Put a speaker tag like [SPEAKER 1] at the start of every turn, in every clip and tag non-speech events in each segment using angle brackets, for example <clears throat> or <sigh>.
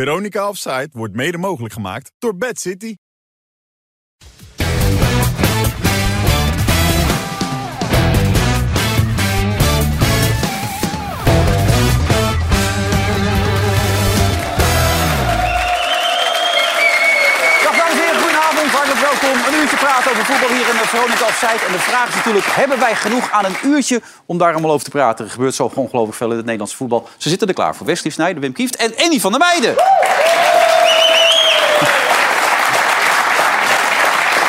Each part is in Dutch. [SPEAKER 1] Veronica Offside wordt mede mogelijk gemaakt door Bad City.
[SPEAKER 2] Dag dames en heren, goedenavond, hartelijk welkom. Een uurtje praten over voetbal hier in de Veronica Offside. En de vraag is natuurlijk, hebben wij genoeg aan een uurtje om daar allemaal over te praten? Er gebeurt zo ongelooflijk veel in het Nederlandse voetbal. Ze zitten er klaar voor. Wesley Snijder, Wim Kieft en Annie van der Meijden.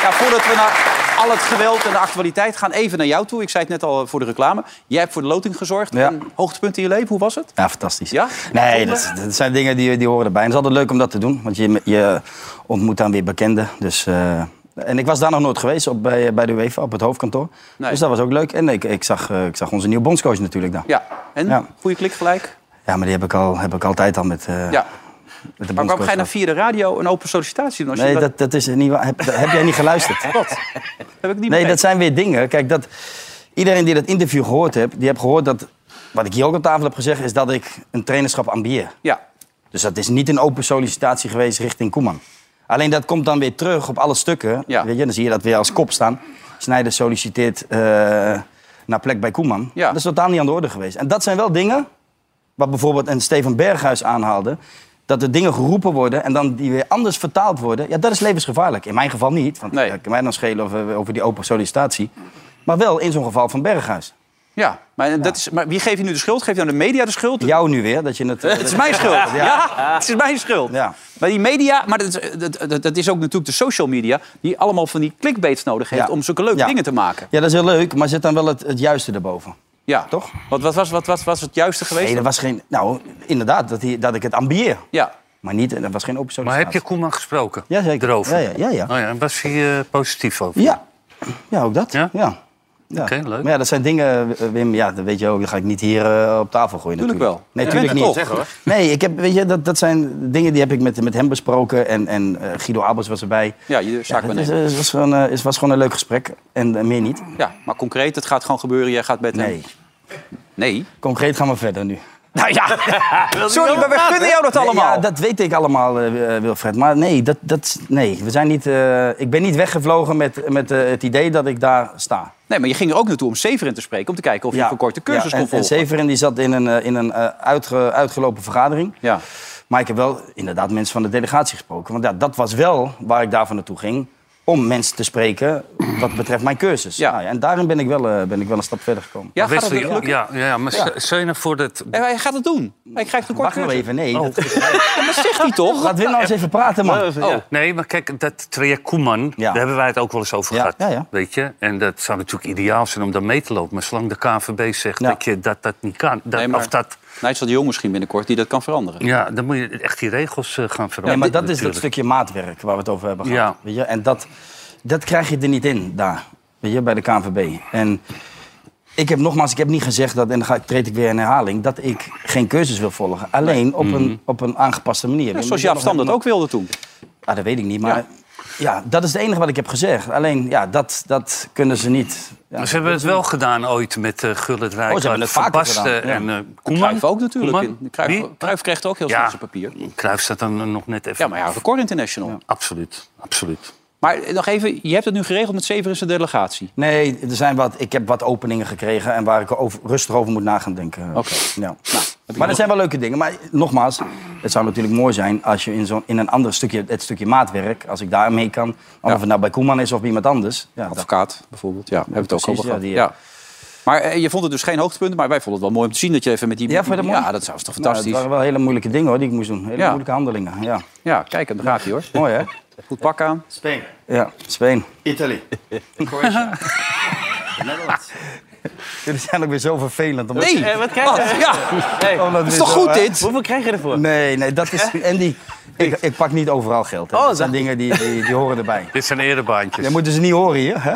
[SPEAKER 2] Ja, voordat we naar al het geweld en de actualiteit gaan, even naar jou toe. Ik zei het net al eh, voor de reclame. Jij hebt voor de loting gezorgd.
[SPEAKER 3] Ja.
[SPEAKER 2] Een hoogtepunt in je leven, hoe was het?
[SPEAKER 3] Ja, fantastisch.
[SPEAKER 2] Ja?
[SPEAKER 3] Nee,
[SPEAKER 2] Zonde?
[SPEAKER 3] dat, dat zijn dingen die, die horen erbij. En het is altijd leuk om dat te doen, want je, je ontmoet dan weer bekenden. Dus, eh, en ik was daar nog nooit geweest op, bij, bij de UEFA, op het hoofdkantoor.
[SPEAKER 2] Nee.
[SPEAKER 3] Dus dat was ook leuk. En ik, ik, zag, eh, ik zag onze nieuwe bondscoach natuurlijk daar.
[SPEAKER 2] Ja. En?
[SPEAKER 3] Ja.
[SPEAKER 2] Goede klik gelijk?
[SPEAKER 3] Ja, maar die heb ik, al, heb ik altijd al met,
[SPEAKER 2] Ja.
[SPEAKER 3] eh, met de
[SPEAKER 2] Maar waarom
[SPEAKER 3] bondscoach.
[SPEAKER 2] ga je nou via de radio een open sollicitatie doen? Als
[SPEAKER 3] Nee,
[SPEAKER 2] je
[SPEAKER 3] dat, dat is niet waar. Heb, dat heb jij niet
[SPEAKER 2] <laughs>
[SPEAKER 3] geluisterd?
[SPEAKER 2] heb ik niet
[SPEAKER 3] Nee,
[SPEAKER 2] begrepen.
[SPEAKER 3] dat zijn weer dingen. Kijk, dat, iedereen die dat interview gehoord heeft, die heeft gehoord dat... Wat ik hier ook op tafel heb gezegd, is dat ik een trainerschap ambieer.
[SPEAKER 2] Ja,
[SPEAKER 3] Dus dat is niet een open sollicitatie geweest richting Koeman. Alleen dat komt dan weer terug op alle stukken.
[SPEAKER 2] Ja.
[SPEAKER 3] Weet je, dan zie je dat weer als kop staan. Snijder solliciteert eh, naar plek bij Koeman.
[SPEAKER 2] Ja.
[SPEAKER 3] Dat is totaal niet aan de orde geweest. En dat zijn wel dingen, wat bijvoorbeeld een Steven Berghuis aanhaalde... dat er dingen geroepen worden en dan die weer anders vertaald worden. Ja, dat is levensgevaarlijk. In mijn geval niet, want
[SPEAKER 2] Nee.
[SPEAKER 3] dat kan mij dan schelen over, over die open sollicitatie. Maar wel in zo'n geval van Berghuis.
[SPEAKER 2] ja. Maar, Dat is, maar wie geeft je nu de schuld? Geef je aan de media de schuld?
[SPEAKER 3] Jou nu weer, dat je
[SPEAKER 2] <laughs>
[SPEAKER 3] het...
[SPEAKER 2] Het is mijn schuld. Ja. het is mijn schuld.
[SPEAKER 3] Ja.
[SPEAKER 2] Maar die media, maar dat, is- dat, dat, dat is ook natuurlijk de social media... die allemaal van die clickbaits nodig heeft
[SPEAKER 3] Ja.
[SPEAKER 2] om zulke leuke
[SPEAKER 3] Ja.
[SPEAKER 2] dingen te maken.
[SPEAKER 3] Ja, dat is heel leuk, maar zit dan wel het, het juiste erboven.
[SPEAKER 2] Ja.
[SPEAKER 3] Toch?
[SPEAKER 2] Wat, wat, was, wat, was was het juiste geweest?
[SPEAKER 3] Nee, dat was geen. Nou, inderdaad, dat, hij, dat ik het ambieer.
[SPEAKER 2] Ja.
[SPEAKER 3] Maar niet, Oh, dat was geen open
[SPEAKER 4] Maar
[SPEAKER 3] sollicitatie.
[SPEAKER 4] heb je Koeman gesproken?
[SPEAKER 3] Ja, zeker.
[SPEAKER 4] Erover?
[SPEAKER 3] Ja, ja, ja, ja.
[SPEAKER 4] Oh ja, en was hij eh, positief over?
[SPEAKER 3] Ja, ja ook dat.
[SPEAKER 4] Ja?
[SPEAKER 3] Ja. ja.
[SPEAKER 4] Oké, leuk.
[SPEAKER 3] Maar ja, dat zijn dingen, eh, Wim, ja, dat weet je ook, die ga ik niet hier eh, op tafel gooien.
[SPEAKER 2] Tuurlijk
[SPEAKER 3] natuurlijk.
[SPEAKER 2] wel.
[SPEAKER 3] Nee,
[SPEAKER 2] Ja,
[SPEAKER 3] natuurlijk
[SPEAKER 2] ja,
[SPEAKER 3] niet.
[SPEAKER 2] toch. Zeg, hoor.
[SPEAKER 3] Nee, ik heb, weet je, dat, dat zijn dingen die heb ik met, met hem besproken. En, en eh, Guido Abels was erbij.
[SPEAKER 2] Ja, je zaak
[SPEAKER 3] dat is, eh, was, gewoon, eh, is- was gewoon een leuk gesprek. En eh, meer niet.
[SPEAKER 2] Ja, maar concreet, het gaat gewoon gebeuren. Jij gaat met hem.
[SPEAKER 3] Nee.
[SPEAKER 2] Nee?
[SPEAKER 3] <laughs> Concreet gaan we verder nu.
[SPEAKER 2] Nou ja. Sorry, maar we gunnen jou dat allemaal.
[SPEAKER 3] Nee, ja, dat weet ik allemaal, eh, eh, Wilfred. Maar nee, dat, dat, nee we zijn niet, eh, ik ben niet weggevlogen met, met eh, het idee dat ik daar sta.
[SPEAKER 2] Nee, maar je ging er ook naartoe om Severin te spreken... om te kijken of je een verkorte cursus
[SPEAKER 3] ja, en,
[SPEAKER 2] kon volgen.
[SPEAKER 3] En Severin die zat in een, eh, in een eh, uitge- uitgelopen vergadering.
[SPEAKER 2] Ja.
[SPEAKER 3] Maar ik heb wel inderdaad mensen van de delegatie gesproken. Want ja, dat was wel waar ik daarvan naartoe ging. Om mensen te spreken wat betreft mijn cursus.
[SPEAKER 2] Ja.
[SPEAKER 3] Nou en daarin ben ik, wel, eh, ben ik wel een stap verder gekomen.
[SPEAKER 2] Ja, gaat het
[SPEAKER 4] Wesley,
[SPEAKER 2] weer lukken?
[SPEAKER 4] ja, ja, ja, maar ja. zou je nou voor dat... Oh.
[SPEAKER 2] En hij gaat het doen. Hij krijgt een korte
[SPEAKER 3] Wacht nog
[SPEAKER 2] cursus.
[SPEAKER 3] even, nee. dat-
[SPEAKER 2] Dat zegt hij <laughs> toch?
[SPEAKER 3] Laat Wim nou eens even praten, man.
[SPEAKER 2] Oh.
[SPEAKER 4] Nee, maar kijk, dat traject Koeman,
[SPEAKER 3] Ja.
[SPEAKER 4] daar hebben wij het ook wel eens over
[SPEAKER 3] Ja,
[SPEAKER 4] gehad.
[SPEAKER 3] ja, ja.
[SPEAKER 4] Weet je? En dat zou natuurlijk ideaal zijn om daar mee te lopen. Maar zolang de KNVB zegt
[SPEAKER 3] Ja.
[SPEAKER 4] dat, je, dat dat niet kan, dat,
[SPEAKER 2] Nee, maar-
[SPEAKER 4] of dat,
[SPEAKER 2] Nigel de Jong misschien binnenkort, die dat kan veranderen.
[SPEAKER 4] ja, dan moet je echt die regels eh, gaan veranderen.
[SPEAKER 3] Nee, maar dat is dat
[SPEAKER 4] natuurlijk.
[SPEAKER 3] stukje maatwerk waar we het over hebben gehad.
[SPEAKER 4] Ja.
[SPEAKER 3] Weet je? En dat, dat krijg je er niet in daar, weet je, bij de KNVB. En ik heb nogmaals, ik heb niet gezegd dat, en dan ga, ik- treed ik weer in herhaling, dat ik geen cursus wil volgen. Alleen op,
[SPEAKER 4] Mhm.
[SPEAKER 3] een, op een aangepaste manier.
[SPEAKER 2] Ja, zoals Jaap Stam dat ook wilde toen.
[SPEAKER 3] Ah, dat weet ik niet, maar ja. dat is het enige wat ik heb gezegd. Alleen, ja, dat, dat kunnen ze niet. Ja.
[SPEAKER 4] Maar ze hebben het wel gedaan ooit met eh Gullit Rijk.
[SPEAKER 3] Oh, ze hebben het
[SPEAKER 4] Van
[SPEAKER 3] vaker
[SPEAKER 4] Basten
[SPEAKER 3] gedaan, ja.
[SPEAKER 4] en eh Koeman.
[SPEAKER 2] Cruijff ook natuurlijk.
[SPEAKER 4] Koeman?
[SPEAKER 2] In. Cruijff,
[SPEAKER 4] Wie?
[SPEAKER 2] Cruijff kreeg het ook heel
[SPEAKER 4] Ja.
[SPEAKER 2] snel op zijn papier.
[SPEAKER 4] Cruijff staat dan eh, nog net even...
[SPEAKER 2] Ja, maar ja, record international.
[SPEAKER 4] Absoluut, absoluut.
[SPEAKER 2] Maar eh, nog even, je hebt het nu geregeld met Severinse delegatie.
[SPEAKER 3] Nee, er zijn wat, ik heb wat openingen gekregen en waar ik over, rustig over moet na gaan denken.
[SPEAKER 2] Oké. Nou,
[SPEAKER 3] Ja.
[SPEAKER 2] ik
[SPEAKER 3] maar dat zijn wel leuke dingen. Maar nogmaals, het zou natuurlijk mooi zijn als je in, zo'n in een ander stukje, het stukje maatwerk, als ik daar mee kan, of het nou bij Koeman is of bij iemand anders. Ja, dat-
[SPEAKER 2] Advocaat bijvoorbeeld. Ja, we hebben we het ook al
[SPEAKER 3] precies,
[SPEAKER 2] over gehad.
[SPEAKER 3] ja,
[SPEAKER 2] Ja,
[SPEAKER 3] die,
[SPEAKER 2] Maar eh, je vond het dus geen hoogtepunt, maar wij vonden het wel mooi om te zien dat je even met die...
[SPEAKER 3] Ja, vond je dat mooi?
[SPEAKER 2] Ja, dat was toch
[SPEAKER 3] Nou,
[SPEAKER 2] fantastisch.
[SPEAKER 3] het waren wel hele moeilijke dingen hoor, die ik moest doen. Hele
[SPEAKER 2] Ja.
[SPEAKER 3] moeilijke handelingen. Ja.
[SPEAKER 2] Ja, kijk, hem, daar gaat hij hoor.
[SPEAKER 3] Mooi hè?
[SPEAKER 2] Goed pak aan.
[SPEAKER 5] Spain,
[SPEAKER 3] Ja, Speen.
[SPEAKER 5] Italy, Croatia, Netherlands.
[SPEAKER 3] Jullie zijn ook weer zo vervelend. Omdat...
[SPEAKER 2] Nee!
[SPEAKER 5] Eh, wat krijg je?
[SPEAKER 3] Oh,
[SPEAKER 2] Wat? Ja,
[SPEAKER 5] Hey,
[SPEAKER 3] Omdat
[SPEAKER 2] dat is
[SPEAKER 3] we
[SPEAKER 2] toch
[SPEAKER 3] zo,
[SPEAKER 2] goed
[SPEAKER 3] hè?
[SPEAKER 2] dit?
[SPEAKER 5] hoeveel krijg je ervoor?
[SPEAKER 3] Nee, nee, dat is. Andy, ik, ik pak niet overal geld. Hè.
[SPEAKER 5] Oh,
[SPEAKER 3] dat zijn dingen die, die, die horen erbij.
[SPEAKER 4] Dit zijn erebaantjes.
[SPEAKER 2] <laughs>
[SPEAKER 3] Dat moeten ze niet horen hier. Hè?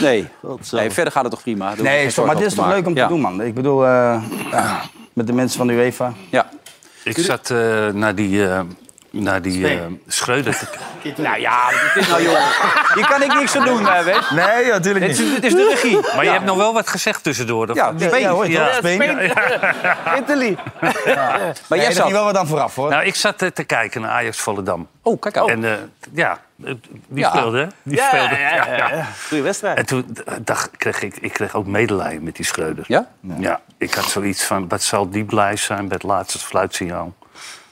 [SPEAKER 2] Nee. nee, verder gaat het toch prima? Daar hoef je
[SPEAKER 3] Nee,
[SPEAKER 2] geen
[SPEAKER 3] stop,
[SPEAKER 2] zorgen
[SPEAKER 3] maar
[SPEAKER 2] over
[SPEAKER 3] dit is toch
[SPEAKER 2] maken.
[SPEAKER 3] leuk om te
[SPEAKER 2] Ja,
[SPEAKER 3] doen, man. Ik bedoel, eh, ja, met de mensen van de UEFA.
[SPEAKER 2] Ja.
[SPEAKER 4] Ik zat eh, naar die, eh naar die eh,
[SPEAKER 5] Spelen.
[SPEAKER 2] <laughs>
[SPEAKER 4] Schreuder te
[SPEAKER 2] Nou ja, het is nou joh. Hier kan ik niks aan doen, hè, weet.
[SPEAKER 6] Nee, natuurlijk
[SPEAKER 2] Het
[SPEAKER 6] niet.
[SPEAKER 2] is, het is de regie.
[SPEAKER 4] Maar je hebt nog wel wat gezegd tussendoor. of
[SPEAKER 2] Ja,
[SPEAKER 4] niet?
[SPEAKER 2] Spanje.
[SPEAKER 6] Ja, hoor,
[SPEAKER 4] Ja.
[SPEAKER 6] toch? Spanje.
[SPEAKER 2] <laughs>
[SPEAKER 5] Italy.
[SPEAKER 2] maar jij
[SPEAKER 3] Jij zat
[SPEAKER 2] zat.
[SPEAKER 3] hier wel wat aan vooraf, hoor.
[SPEAKER 4] Nou, ik zat eh, te kijken naar Ajax Volendam.
[SPEAKER 2] Oh, kijk aan. Oh.
[SPEAKER 4] En eh, <laughs> ja, eh, die
[SPEAKER 2] Ja.
[SPEAKER 4] speelde, hè? Die
[SPEAKER 5] Ja,
[SPEAKER 4] speelde.
[SPEAKER 5] ja, ja, ja.
[SPEAKER 2] Goeie wedstrijd.
[SPEAKER 4] En toen d- dacht, kreeg ik, ik kreeg ook medelijden met die Schreuder.
[SPEAKER 2] Ja?
[SPEAKER 4] Ja, ik had zoiets van, wat zal die blij zijn bij het laatste fluitsignaal...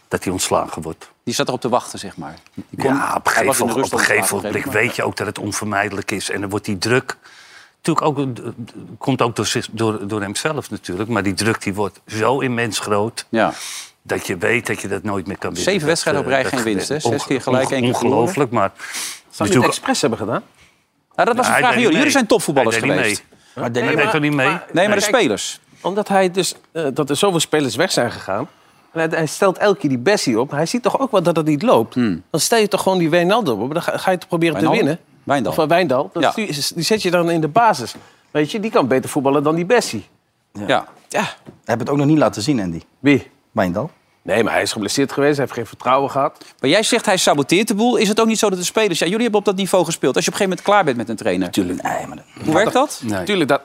[SPEAKER 4] dat hij ontslagen wordt.
[SPEAKER 2] Die zat erop te wachten, zeg maar. Die kon-
[SPEAKER 4] ja, op een
[SPEAKER 2] hij was
[SPEAKER 4] gegeven,
[SPEAKER 2] in de
[SPEAKER 4] op
[SPEAKER 2] rust
[SPEAKER 4] een gegeven
[SPEAKER 2] ontslagen,
[SPEAKER 4] ogenblik
[SPEAKER 2] begreep ik,
[SPEAKER 4] weet je ook dat het onvermijdelijk is. En dan wordt die druk... Natuurlijk ook, eh, d- d- komt ook door, zich, door, door hemzelf natuurlijk. Maar die druk die wordt zo immens groot...
[SPEAKER 2] maar- Ja.
[SPEAKER 4] dat je weet dat je dat nooit meer kan winnen.
[SPEAKER 2] Zeven
[SPEAKER 4] Dat,
[SPEAKER 2] wedstrijden op
[SPEAKER 4] eh,
[SPEAKER 2] rij,
[SPEAKER 4] dat
[SPEAKER 2] geen
[SPEAKER 4] gebeurt.
[SPEAKER 2] winst, hè? Zes
[SPEAKER 4] Onge-
[SPEAKER 2] keer gelijk, één keer
[SPEAKER 4] Ongelooflijk, maar...
[SPEAKER 5] Zou je het expres hebben gedaan?
[SPEAKER 2] Nou, dat was een
[SPEAKER 4] Hij
[SPEAKER 2] vraag aan
[SPEAKER 4] deed
[SPEAKER 2] jullie.
[SPEAKER 4] niet
[SPEAKER 2] Jullie zijn
[SPEAKER 4] mee.
[SPEAKER 2] topvoetballers
[SPEAKER 4] Hij deed niet
[SPEAKER 2] geweest.
[SPEAKER 4] mee.
[SPEAKER 3] Maar denk-
[SPEAKER 4] Hij deed toch niet mee?
[SPEAKER 2] Nee, maar de
[SPEAKER 5] Kijk,
[SPEAKER 2] spelers.
[SPEAKER 5] Omdat hij dus, eh, dat er zoveel spelers weg zijn gegaan. En hij, hij stelt elke keer die Bessie op. Hij ziet toch ook wel dat het niet loopt. Dan stel je toch gewoon die Wijnaldum op. Dan ga, ga je toch proberen
[SPEAKER 2] Hmm. Wijnaldum?
[SPEAKER 5] te winnen.
[SPEAKER 2] Wijndal.
[SPEAKER 5] Of eh, Wijndal. Dat
[SPEAKER 2] Ja.
[SPEAKER 5] is- die, die zet je dan in de basis. Weet je, die kan beter voetballen dan die Bessie.
[SPEAKER 2] Ja.
[SPEAKER 5] Ja,
[SPEAKER 3] Heb het ook nog niet laten zien, Andy.
[SPEAKER 5] wie?
[SPEAKER 3] Wijndal.
[SPEAKER 5] Nee, maar hij is geblesseerd geweest. Hij heeft geen vertrouwen gehad.
[SPEAKER 2] Maar jij zegt hij saboteert de boel. Is het ook niet zo dat de spelers... Ja, jullie hebben op dat niveau gespeeld. Als je op een gegeven moment klaar bent met een trainer.
[SPEAKER 3] Nee, maar dat-
[SPEAKER 2] Hoe werkt dat?
[SPEAKER 5] Tuurlijk, dat,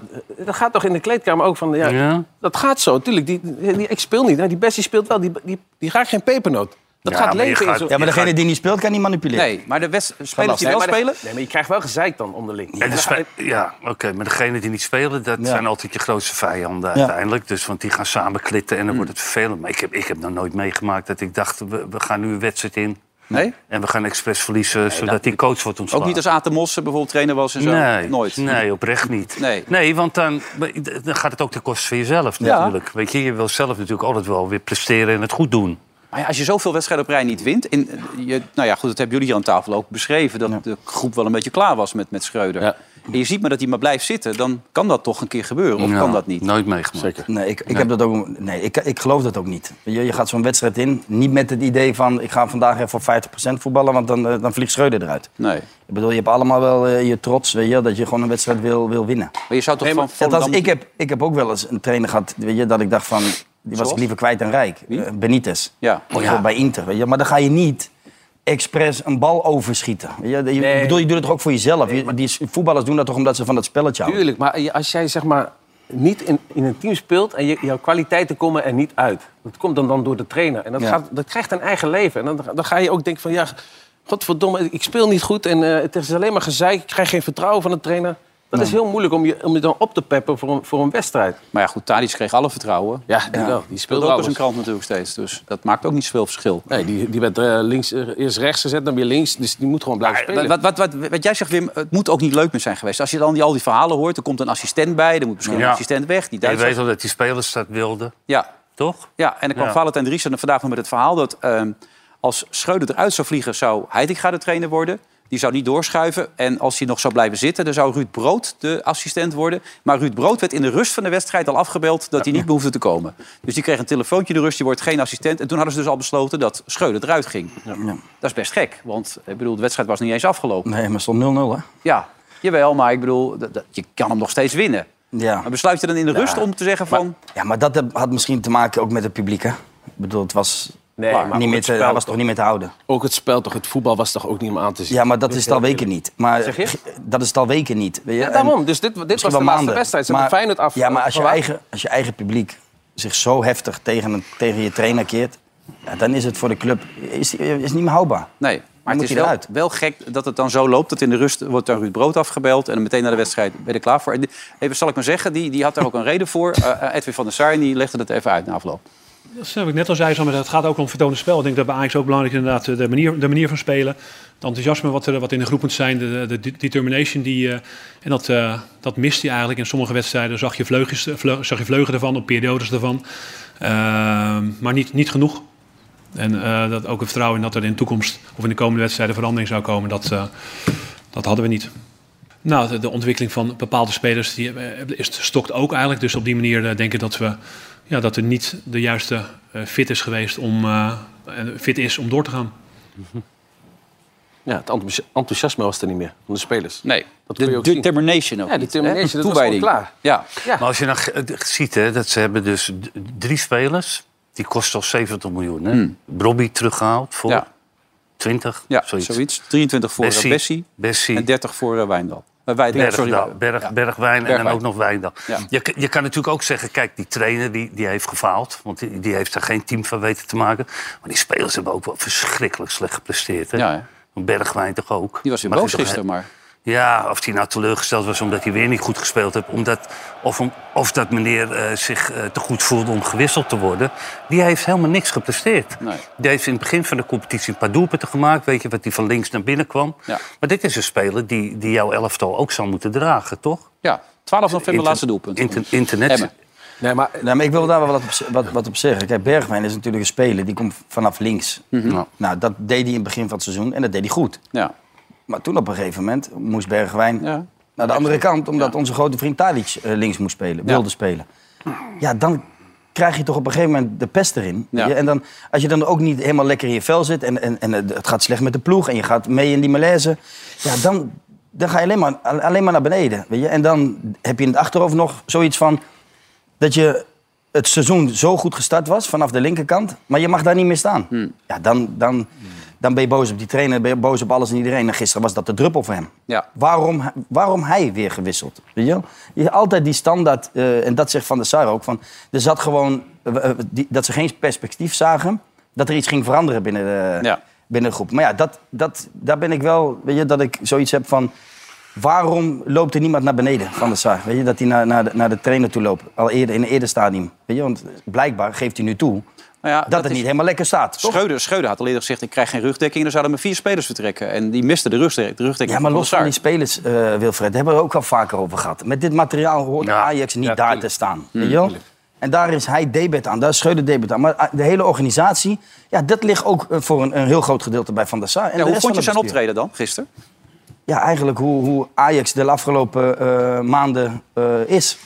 [SPEAKER 5] dat gaat toch in de kleedkamer ook van... Ja,
[SPEAKER 4] Ja.
[SPEAKER 5] Dat gaat zo. Tuurlijk, die, die, ik speel niet. Nou, die Bessie speelt wel. Die, die, die raakt geen pepernoot. Dat
[SPEAKER 4] Ja,
[SPEAKER 5] gaat
[SPEAKER 4] maar je
[SPEAKER 5] leven in
[SPEAKER 4] gaat-
[SPEAKER 5] zo'n...
[SPEAKER 3] Ja, maar
[SPEAKER 4] Je
[SPEAKER 3] degene
[SPEAKER 4] gaat-
[SPEAKER 3] die niet speelt, kan niet manipuleren.
[SPEAKER 2] Nee, maar de west- spelers die wel
[SPEAKER 5] Nee, maar de-
[SPEAKER 2] spelen...
[SPEAKER 5] Nee, maar je krijgt wel gezeik dan onderling. eh,
[SPEAKER 4] En de spe- ja, oké, maar degenen die niet spelen, dat zijn altijd je grootste vijanden uiteindelijk. Dus, want die gaan samen klitten en dan
[SPEAKER 2] Hmm.
[SPEAKER 4] wordt het vervelend. Maar ik heb, ik heb nog nooit meegemaakt dat ik dacht, we, we gaan nu een wedstrijd in.
[SPEAKER 2] Nee?
[SPEAKER 4] En we gaan expres verliezen, zodat die coach wordt
[SPEAKER 2] Ook
[SPEAKER 4] ontslagen.
[SPEAKER 2] niet als Aten Mos eh, bijvoorbeeld trainer was en zo?
[SPEAKER 4] Nee,
[SPEAKER 2] Nooit?
[SPEAKER 4] nee, oprecht niet.
[SPEAKER 2] Nee.
[SPEAKER 4] want dan, dan gaat het ook ten koste van jezelf
[SPEAKER 2] Ja.
[SPEAKER 4] natuurlijk. Weet je, je wil zelf natuurlijk altijd wel weer presteren en het goed doen.
[SPEAKER 2] Maar ja, als je zoveel wedstrijden op rij niet wint... En eh, je, nou ja, goed, dat hebben jullie hier aan tafel ook beschreven... dat de groep wel een beetje klaar was met, met Schreuder.
[SPEAKER 5] Ja.
[SPEAKER 2] En je ziet maar dat hij maar blijft zitten. Dan kan dat toch een keer gebeuren, of
[SPEAKER 4] Ja,
[SPEAKER 2] kan dat niet?
[SPEAKER 4] Nooit meegemaakt.
[SPEAKER 3] Nee, ik, ik, Heb dat ook, nee ik, ik geloof dat ook niet. Je, je gaat zo'n wedstrijd in, niet met het idee van... ik ga vandaag even voor 50% voetballen, want dan, eh, dan vliegt Schreuder eruit.
[SPEAKER 2] Nee.
[SPEAKER 3] Ik bedoel, je hebt allemaal wel eh, je trots, weet je, wel, dat je gewoon een wedstrijd wil, wil winnen.
[SPEAKER 2] Maar je zou toch van
[SPEAKER 3] Ja, dat
[SPEAKER 2] Volendam-
[SPEAKER 3] is- ik, heb, ik heb ook wel eens een trainer gehad, weet je, dat ik dacht van... die was ik liever kwijt dan rijk. Eh, Benitez.
[SPEAKER 2] Oh Ja.
[SPEAKER 3] Bijvoorbeeld Bij Inter, weet je. Maar dan ga je niet expres een bal overschieten. weet Je, je, ik bedoel, je doet het toch ook voor jezelf? Je- die voetballers doen dat toch omdat ze van dat spelletje houden?
[SPEAKER 5] Tuurlijk, maar je- als jij zeg maar niet in, in een team speelt en je, jouw kwaliteiten komen er niet uit. Dat komt dan, dan door de trainer. En dat,
[SPEAKER 3] Ja.
[SPEAKER 5] gaat, dat krijgt een eigen leven. En dan, dan ga je ook denken van ja, godverdomme, ik speel niet goed. En eh, het is alleen maar gezeik, ik krijg geen vertrouwen van de trainer. Dat is heel moeilijk om je, om je dan op te peppen voor een, voor een wedstrijd.
[SPEAKER 2] Maar ja, goed, Tadic kreeg alle vertrouwen.
[SPEAKER 5] Ja, die wel. Die
[SPEAKER 2] Speelde
[SPEAKER 5] speelt
[SPEAKER 2] ook
[SPEAKER 5] ook
[SPEAKER 2] als een krant natuurlijk steeds. Dus dat maakt ook niet zoveel verschil.
[SPEAKER 5] Nee, die, die werd eh, links, eh, eerst rechts gezet, dan weer links. Dus die moet gewoon blijven spelen.
[SPEAKER 2] Wat, wat, wat, wat jij zegt, Wim, het moet ook niet leuk meer zijn geweest. Als je dan die, al die verhalen hoort, er komt een assistent bij, er moet misschien een
[SPEAKER 4] Ja.
[SPEAKER 2] assistent weg, die
[SPEAKER 4] Je weet
[SPEAKER 2] Duitsers.
[SPEAKER 4] wel dat die spelers dat wilden,
[SPEAKER 2] Ja,
[SPEAKER 4] toch?
[SPEAKER 2] ja, en dan kwam
[SPEAKER 4] Ja.
[SPEAKER 2] Valentijn Driessen vandaag nog met het verhaal dat ehm, als Schreuder eruit zou vliegen, zou Heitinga de trainer worden. Die zou niet doorschuiven. En als hij nog zou blijven zitten, dan zou Ruud Brood de assistent worden. Maar Ruud Brood werd in de rust van de wedstrijd al afgebeld dat hij niet behoefde te komen. Dus die kreeg een telefoontje in de rust, die wordt geen assistent. En toen hadden ze dus al besloten dat Schreuder eruit ging. Dat is best gek, want ik bedoel, de wedstrijd was niet eens afgelopen.
[SPEAKER 3] Nee, maar stond 0-0, hè?
[SPEAKER 2] Ja, jawel, maar ik bedoel, dat- dat- je kan hem nog steeds winnen.
[SPEAKER 3] Ja.
[SPEAKER 2] Maar besluit je dan in de rust om te zeggen van...
[SPEAKER 3] Ja, Nou, maar dat heb- had misschien te maken ook met het publiek, hè? Ik bedoel, het was...
[SPEAKER 5] Nee, maar
[SPEAKER 3] niet
[SPEAKER 5] ook
[SPEAKER 3] meer
[SPEAKER 5] het
[SPEAKER 3] te,
[SPEAKER 5] spel
[SPEAKER 3] hij was
[SPEAKER 5] toch.
[SPEAKER 3] toch niet meer te houden?
[SPEAKER 5] Ook het spel, toch, het voetbal was toch ook niet om aan te zien.
[SPEAKER 3] Ja, maar dat is het al weken niet. Maar
[SPEAKER 5] Zeg je?
[SPEAKER 3] g- dat is het al weken niet. weet je?
[SPEAKER 5] Ja,
[SPEAKER 3] En
[SPEAKER 5] daarom. Dus dit, dit was de
[SPEAKER 3] misschien wel
[SPEAKER 5] laatste
[SPEAKER 3] maanden.
[SPEAKER 5] wedstrijd. Ze hebben Feyenoord af.
[SPEAKER 3] Ja, maar als je,
[SPEAKER 5] afgewaakt.
[SPEAKER 3] eigen, als je eigen publiek zich zo heftig tegen, een, tegen je trainer keert... Ja, dan is het voor de club is, is niet meer houdbaar.
[SPEAKER 2] Nee, maar het
[SPEAKER 3] moet
[SPEAKER 2] is
[SPEAKER 3] hij
[SPEAKER 2] wel,
[SPEAKER 3] eruit.
[SPEAKER 2] wel gek dat het dan zo loopt. Dat in de rust wordt dan Ruud Brood afgebeld. En dan meteen na de wedstrijd ben je er klaar voor. En die- Even, zal ik maar zeggen, die, die had daar ook een reden voor. Eh, eh, Edwin van der Sar, die legde dat even uit na afloop.
[SPEAKER 7] Dat heb ik net al zei, Sam, maar het gaat ook om vertonen spel. Ik denk dat bij Ajax ook belangrijk is inderdaad eh, de manier, de manier van spelen. Het enthousiasme wat, er, wat in de groep moet zijn, de, de, de determination. Die, eh, en dat, eh, dat mist hij eigenlijk. In sommige wedstrijden zag je vleugjes, vleug- zag je vleugen ervan, op periodes ervan. Ehm, maar niet, niet genoeg. En eh, dat ook het vertrouwen in dat er in de toekomst of in de komende wedstrijden verandering zou komen, dat, eh, dat hadden we niet. Nou, de, de ontwikkeling van bepaalde spelers die, eh, is, stokt ook eigenlijk. Dus op die manier eh, denk ik dat, we, ja, dat er niet de juiste eh, fit is geweest om, eh, en fit is om door te gaan.
[SPEAKER 5] Ja, het enthousi- enthousiasme was er niet meer van de spelers.
[SPEAKER 2] Nee,
[SPEAKER 5] Dat kun je
[SPEAKER 2] de
[SPEAKER 5] ook zien.
[SPEAKER 2] determination ook
[SPEAKER 5] Ja,
[SPEAKER 2] niet,
[SPEAKER 5] determination,
[SPEAKER 2] hè?
[SPEAKER 5] dat was
[SPEAKER 2] Toewijding.
[SPEAKER 5] gewoon klaar.
[SPEAKER 2] Ja,
[SPEAKER 5] Ja.
[SPEAKER 4] Maar als je dan g- d- ziet hè, dat ze hebben dus d-
[SPEAKER 2] Hmm.
[SPEAKER 4] drie spelers, die kosten al 70 miljoen. Hè? Robbie teruggehaald voor
[SPEAKER 2] Ja.
[SPEAKER 4] 20,
[SPEAKER 2] Ja,
[SPEAKER 4] zoiets.
[SPEAKER 2] zoiets. 23 voor eh, Bessie,
[SPEAKER 4] Bessie.
[SPEAKER 2] en 30 voor eh, Wijndal. Eh, Wijdal, sorry.
[SPEAKER 4] Bergdal, Berg,
[SPEAKER 2] Ja.
[SPEAKER 4] Bergwijn en
[SPEAKER 2] Bergwijn.
[SPEAKER 4] dan ook nog Wijndal.
[SPEAKER 2] Ja.
[SPEAKER 4] Je, k- je kan natuurlijk ook zeggen, kijk, die trainer die, die heeft gefaald. Want die, die heeft er geen team van weten te maken. Maar die spelers hebben ook wel verschrikkelijk slecht gepresteerd. Hè?
[SPEAKER 2] Ja, hè.
[SPEAKER 4] Bergwijn toch ook.
[SPEAKER 2] Die was weer
[SPEAKER 4] Maar
[SPEAKER 2] boos
[SPEAKER 4] het is
[SPEAKER 2] gisteren,
[SPEAKER 4] toch-
[SPEAKER 2] maar...
[SPEAKER 4] Ja, of hij nou teleurgesteld was omdat hij weer niet goed gespeeld heeft. Omdat, of, om- of dat meneer eh, zich eh, te goed voelde om gewisseld te worden. Die heeft helemaal niks gepresteerd.
[SPEAKER 2] Nee.
[SPEAKER 4] Die heeft in het begin van de competitie een paar doelpunten gemaakt. Weet je, wat die van links naar binnen kwam.
[SPEAKER 2] Ja.
[SPEAKER 4] Maar dit is een speler die, die jouw elftal ook zou moeten dragen, toch?
[SPEAKER 2] Ja, 12 november,
[SPEAKER 4] Inter-
[SPEAKER 2] laatste doelpunt.
[SPEAKER 4] inter- internet.
[SPEAKER 2] Emmen.
[SPEAKER 5] Nee, maar
[SPEAKER 3] Nou, maar ik wil daar wel wat op, z- wat, wat op zeggen. Kijk, Bergwijn is natuurlijk een speler die komt vanaf links.
[SPEAKER 4] Ja.
[SPEAKER 3] Nou, dat deed hij in het begin van het seizoen en dat deed hij goed.
[SPEAKER 2] Mhm. Ja,
[SPEAKER 3] Maar toen op een gegeven moment moest Bergwijn
[SPEAKER 2] Ja.
[SPEAKER 3] naar de andere kant, omdat onze grote vriend Tadic eh, links moest spelen, wilde spelen. Ja, dan krijg je toch op een gegeven moment de pest erin.
[SPEAKER 2] Ja.
[SPEAKER 3] Ja, en dan, als je dan ook niet helemaal lekker in je vel zit en, en, en het het gaat slecht met de ploeg en je gaat mee in die malaise, ja, dan, dan ga je alleen maar, alleen maar naar beneden. Weet je? En dan heb je in het achterhoofd nog zoiets van dat je het seizoen zo goed gestart was vanaf de linkerkant, maar je mag daar niet meer staan.
[SPEAKER 8] Hmm.
[SPEAKER 3] Ja, dan, dan, dan ben je boos op die trainer, ben je boos op alles en iedereen. En gisteren was dat de druppel voor hem.
[SPEAKER 2] ja.
[SPEAKER 3] Waarom, hij- waarom hij weer gewisseld? Weet je? wel? je altijd die standaard, eh, en dat zegt Van der Sar ook, van, er zat gewoon, eh, eh, die- dat ze geen perspectief zagen, dat er iets ging veranderen binnen de,
[SPEAKER 2] Ja.
[SPEAKER 3] binnen de groep. Maar ja, dat, dat, daar ben ik wel, weet je, dat ik zoiets heb van, waarom loopt er niemand naar beneden van de Sar? Weet je, dat hij naar, naar, de, naar de trainer toe loopt, al eerder, in een eerder stadium. Weet je, want blijkbaar geeft hij nu toe
[SPEAKER 2] Nou ja,
[SPEAKER 3] dat,
[SPEAKER 2] dat
[SPEAKER 3] het
[SPEAKER 2] is-
[SPEAKER 3] niet helemaal lekker staat, toch?
[SPEAKER 2] Schreuder, Schreuder had al eerder gezegd, ik krijg geen rugdekking. Dan zouden maar vier spelers vertrekken. En die misten de rugdekking. De rugdekking
[SPEAKER 3] Ja, maar los van
[SPEAKER 2] Saar.
[SPEAKER 3] die spelers, eh, Wilfred, hebben we er ook al vaker over gehad. Met dit materiaal hoort
[SPEAKER 4] Ja. Mm.
[SPEAKER 3] Ajax niet
[SPEAKER 5] Ja,
[SPEAKER 3] daar
[SPEAKER 5] tuurlijk.
[SPEAKER 3] te staan. weet je wel? En daar is hij debet aan, daar is Schreuder debet aan. Maar eh, de hele organisatie, ja, dat ligt ook eh, voor een, een heel groot gedeelte bij Van der Sar. En
[SPEAKER 2] Ja,
[SPEAKER 3] de
[SPEAKER 2] hoe
[SPEAKER 3] rest
[SPEAKER 2] vond je
[SPEAKER 3] van
[SPEAKER 2] zijn
[SPEAKER 3] het bestuur.
[SPEAKER 2] optreden dan, gisteren?
[SPEAKER 3] Ja, eigenlijk hoe, hoe Ajax de afgelopen eh, maanden eh, is.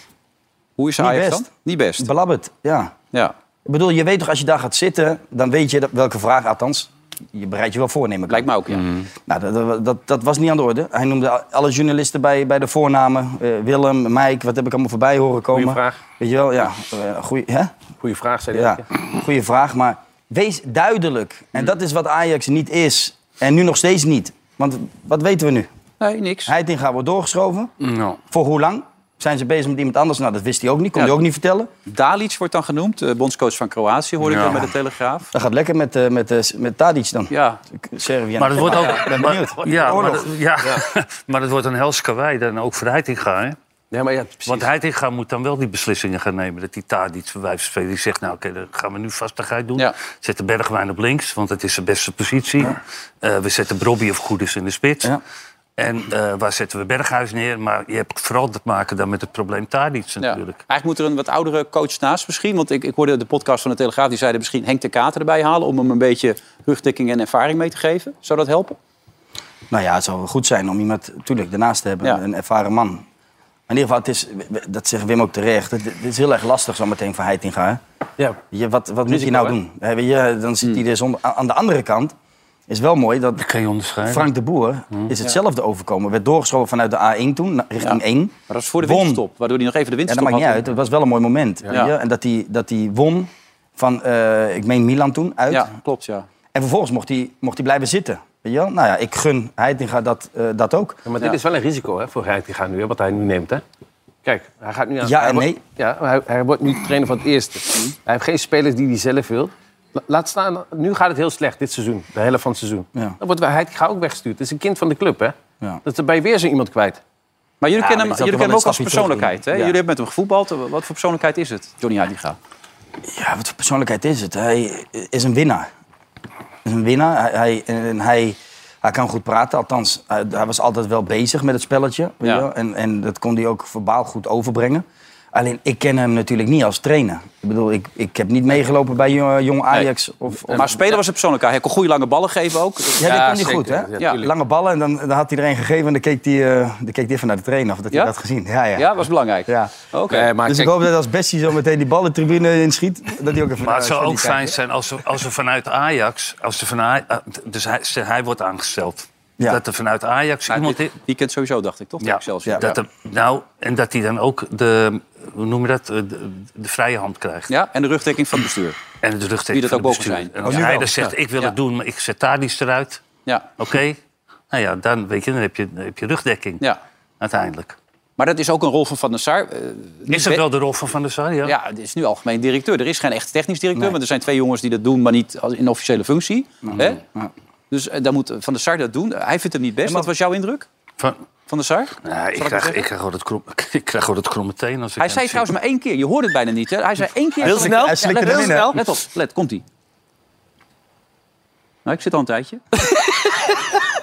[SPEAKER 2] Hoe is
[SPEAKER 3] Niet
[SPEAKER 2] Ajax
[SPEAKER 3] best.
[SPEAKER 2] dan? Niet best.
[SPEAKER 3] Belabberd, ja.
[SPEAKER 2] Ja.
[SPEAKER 3] Ik bedoel, je weet toch, als je daar gaat zitten, dan weet je dat, welke vraag, althans, je bereidt je wel voor, neem ik aan.
[SPEAKER 2] Lijkt me ook, ja.
[SPEAKER 3] Nou, dat- dat, dat, dat was niet aan de orde. Hij noemde al- alle journalisten bij, bij de voornamen. Eh, Willem, Mike, wat heb ik allemaal voorbij horen komen.
[SPEAKER 5] Goeie vraag.
[SPEAKER 3] Weet je wel, ja. eh, goeie, hè?
[SPEAKER 5] goede vraag, zei hij.
[SPEAKER 3] ja. Goeie vraag, maar wees duidelijk.
[SPEAKER 2] Mm.
[SPEAKER 3] En dat is wat Ajax niet is. En nu nog steeds niet. Want wat weten we nu?
[SPEAKER 2] Nee, niks. Mm,
[SPEAKER 3] Heitinga wordt doorgeschoven.
[SPEAKER 4] Nou,
[SPEAKER 3] Voor hoe lang? Zijn ze bezig met iemand anders? Nou, dat wist hij ook niet. Kon
[SPEAKER 2] Ja.
[SPEAKER 3] hij ook niet vertellen.
[SPEAKER 2] Dalic wordt dan genoemd, eh, bondscoach van Kroatië, hoorde ik
[SPEAKER 4] Ja.
[SPEAKER 2] dan bij de Telegraaf.
[SPEAKER 3] Dat gaat lekker met, eh, met, eh, met Tadic dan.
[SPEAKER 2] Ja,
[SPEAKER 3] Servië en-
[SPEAKER 4] maar het wordt ook...
[SPEAKER 3] Ik ben
[SPEAKER 4] maar-
[SPEAKER 3] benieuwd.
[SPEAKER 4] ja, maar,
[SPEAKER 3] Oorlog.
[SPEAKER 4] dat- ja, <laughs> maar het wordt een hels karwei dan ook voor Heitinga, hè?
[SPEAKER 5] Nee, maar ja, precies.
[SPEAKER 4] Want Heitinga moet dan wel die beslissingen gaan nemen. Dat die Tadic verwijft spelen. Die zegt, nou oké, dan gaan we nu vastigheid doen.
[SPEAKER 2] Ja.
[SPEAKER 4] Zet de Bergwijn op links, want dat is zijn beste positie. Eh, we zetten Brobby of Goeders in de spits.
[SPEAKER 3] Ja.
[SPEAKER 4] En eh, waar zetten we Berghuis neer? Maar je hebt vooral te maken dan met het probleem Tadic
[SPEAKER 2] ja.
[SPEAKER 4] natuurlijk.
[SPEAKER 2] Eigenlijk moet er een wat oudere coach naast misschien. Want ik, ik hoorde de podcast van de Telegraaf, die zeiden misschien Henk de Kater erbij halen... om hem een beetje rugdekking en ervaring mee te geven. Zou dat helpen?
[SPEAKER 3] Nou ja, het zou wel goed zijn om iemand natuurlijk daarnaast te hebben,
[SPEAKER 2] Ja.
[SPEAKER 3] een ervaren man. Maar in ieder geval, het is, dat zegt Wim ook terecht, het, het is heel erg lastig zo meteen voor Heitinga. hè.
[SPEAKER 5] ja.
[SPEAKER 3] Je, wat wat moet hij nou
[SPEAKER 5] hè?
[SPEAKER 3] doen? Hè, weet je, dan
[SPEAKER 2] Hmm.
[SPEAKER 3] zit hij er zonder... Aan aan de andere kant is wel mooi dat
[SPEAKER 4] Geen onderscheid.
[SPEAKER 3] Frank de Boer is hetzelfde overkomen. Werd doorgeschoven vanuit de A1 toen, na- richting
[SPEAKER 2] Ja.
[SPEAKER 3] 1.
[SPEAKER 2] Maar dat is voor de
[SPEAKER 3] Won.
[SPEAKER 2] winterstop, waardoor hij nog even de
[SPEAKER 3] Ja, dat
[SPEAKER 2] winterstop
[SPEAKER 3] maakt niet
[SPEAKER 2] had.
[SPEAKER 3] uit. Het was wel een mooi moment. weet je. En dat hij, dat hij won van, eh, ik meen Milan toen, uit.
[SPEAKER 2] Ja, klopt, ja.
[SPEAKER 3] En vervolgens mocht hij, mocht hij blijven zitten. Weet je wel? Nou ja, ik gun Heitinga dat, eh, dat ook.
[SPEAKER 5] Ja, maar dit
[SPEAKER 2] Ja.
[SPEAKER 5] is wel een risico hè, voor Rijk die gaat nu, hè, wat hij nu neemt. Hè? Kijk, hij gaat nu aan.
[SPEAKER 3] Ja
[SPEAKER 5] hij
[SPEAKER 3] en
[SPEAKER 5] wordt-
[SPEAKER 3] nee.
[SPEAKER 5] ja, hij, hij wordt nu trainer van het eerste.
[SPEAKER 2] Hmm.
[SPEAKER 5] Hij heeft geen spelers die hij zelf wil. La- Laat staan, nu gaat het heel slecht dit seizoen, de helft van het seizoen.
[SPEAKER 3] Ja.
[SPEAKER 5] Dan wordt hij gaat ook weggestuurd. Het is een kind van de club, hè?
[SPEAKER 3] Ja.
[SPEAKER 5] Dat er bij weer zo iemand kwijt.
[SPEAKER 2] Maar jullie
[SPEAKER 3] Ja,
[SPEAKER 2] kennen
[SPEAKER 3] maar
[SPEAKER 2] hem, jullie
[SPEAKER 3] die zou toch
[SPEAKER 2] kennen hem ook
[SPEAKER 3] wel
[SPEAKER 2] als
[SPEAKER 3] een stapje terug
[SPEAKER 2] persoonlijkheid. Hè?
[SPEAKER 3] doen. Ja.
[SPEAKER 2] Jullie hebben met hem gevoetbald. Wat voor persoonlijkheid is het, Johnny Heitinga?
[SPEAKER 3] Ja, wat voor persoonlijkheid is het? Hij is een winnaar. Is een winnaar. Hij, hij, en hij, hij kan goed praten, althans, hij, hij was altijd wel bezig met het spelletje. weet
[SPEAKER 2] Ja.
[SPEAKER 3] je wel. En, en dat kon hij ook verbaal goed overbrengen. Alleen, ik ken hem natuurlijk niet als trainer. Ik bedoel, ik, ik heb niet meegelopen bij jong, jong Ajax. Of,
[SPEAKER 4] Eh,
[SPEAKER 3] of-
[SPEAKER 2] Maar speler was een persoonlijkheid. Hij kon goede lange ballen geven ook.
[SPEAKER 3] ja, dat
[SPEAKER 5] Ja,
[SPEAKER 3] kon hij
[SPEAKER 5] zeker.
[SPEAKER 3] goed, hè?
[SPEAKER 5] Ja, tuurlijk.
[SPEAKER 3] Lange ballen en dan, dan had hij er een gegeven en dan keek hij, eh, dan keek hij even naar de trainer of dat
[SPEAKER 2] Ja?
[SPEAKER 3] hij dat had gezien. Ja, ja.
[SPEAKER 2] Ja, was belangrijk.
[SPEAKER 3] Ja.
[SPEAKER 2] Oké.
[SPEAKER 5] Nee, maar
[SPEAKER 3] dus
[SPEAKER 5] kijk,
[SPEAKER 3] ik hoop dat als Bessie zo meteen die ballentribune inschiet, dat hij ook even...
[SPEAKER 4] Maar het zou
[SPEAKER 3] eh,
[SPEAKER 4] ook
[SPEAKER 3] kijkt, hè?
[SPEAKER 4] fijn zijn als er, als er vanuit Ajax... Als er van Aj- eh, dus hij, stel, hij wordt aangesteld.
[SPEAKER 3] Ja.
[SPEAKER 4] Dat er vanuit Ajax
[SPEAKER 2] Maar
[SPEAKER 4] iemand...
[SPEAKER 2] dit
[SPEAKER 4] i-
[SPEAKER 2] weekend sowieso, dacht ik, toch? Zelfs,
[SPEAKER 3] Ja.
[SPEAKER 2] ja.
[SPEAKER 4] Dat er- nou, en dat hij dan ook de, hoe noem je dat, Eh, de, de vrije hand krijgt.
[SPEAKER 2] ja, en de rugdekking van het bestuur.
[SPEAKER 4] En de rugdekking
[SPEAKER 2] Wie dat
[SPEAKER 4] van
[SPEAKER 2] ook mogen
[SPEAKER 4] het bestuur.
[SPEAKER 2] zijn.
[SPEAKER 4] En
[SPEAKER 2] Oh,
[SPEAKER 4] als
[SPEAKER 2] nu
[SPEAKER 4] hij
[SPEAKER 2] wel.
[SPEAKER 4] dan zegt,
[SPEAKER 2] Ja.
[SPEAKER 4] ik wil
[SPEAKER 2] Ja.
[SPEAKER 4] het doen, maar ik zet Tadic eruit.
[SPEAKER 2] Ja,
[SPEAKER 4] Oké, nou ja, dan, weet je, dan, heb je, dan heb je rugdekking
[SPEAKER 2] ja.
[SPEAKER 4] uiteindelijk.
[SPEAKER 2] Maar dat is ook een rol van Van der Sar. eh, niet
[SPEAKER 4] Is dat
[SPEAKER 2] be-
[SPEAKER 4] wel de rol van Van der Sar? Ja.
[SPEAKER 2] Ja, het is nu algemeen directeur. Er is geen echt technisch directeur, want er zijn twee jongens die dat doen, maar niet als- in officiële functie.
[SPEAKER 4] Nou,
[SPEAKER 2] Hè? Dus eh, dan moet Van der Sar dat doen. Hij vindt hem niet best. Wat was jouw indruk
[SPEAKER 4] Van,
[SPEAKER 2] van der Sar?
[SPEAKER 4] nou, ik,
[SPEAKER 2] het
[SPEAKER 4] krijg,
[SPEAKER 2] zeggen?
[SPEAKER 4] ik, krijg gewoon het krom, <laughs> ik krijg gewoon het kromme teen als ik
[SPEAKER 2] Hij
[SPEAKER 4] hem
[SPEAKER 2] zei
[SPEAKER 4] zie.
[SPEAKER 2] trouwens maar één keer. Je hoorde het bijna niet. Hè? Hij zei één keer.
[SPEAKER 6] Heel snel.
[SPEAKER 2] Ja,
[SPEAKER 6] Hij slikte
[SPEAKER 2] let-
[SPEAKER 6] hem
[SPEAKER 2] let-
[SPEAKER 6] in, hè?
[SPEAKER 2] Let op, let, komt ie. Nou, ik zit al een tijdje.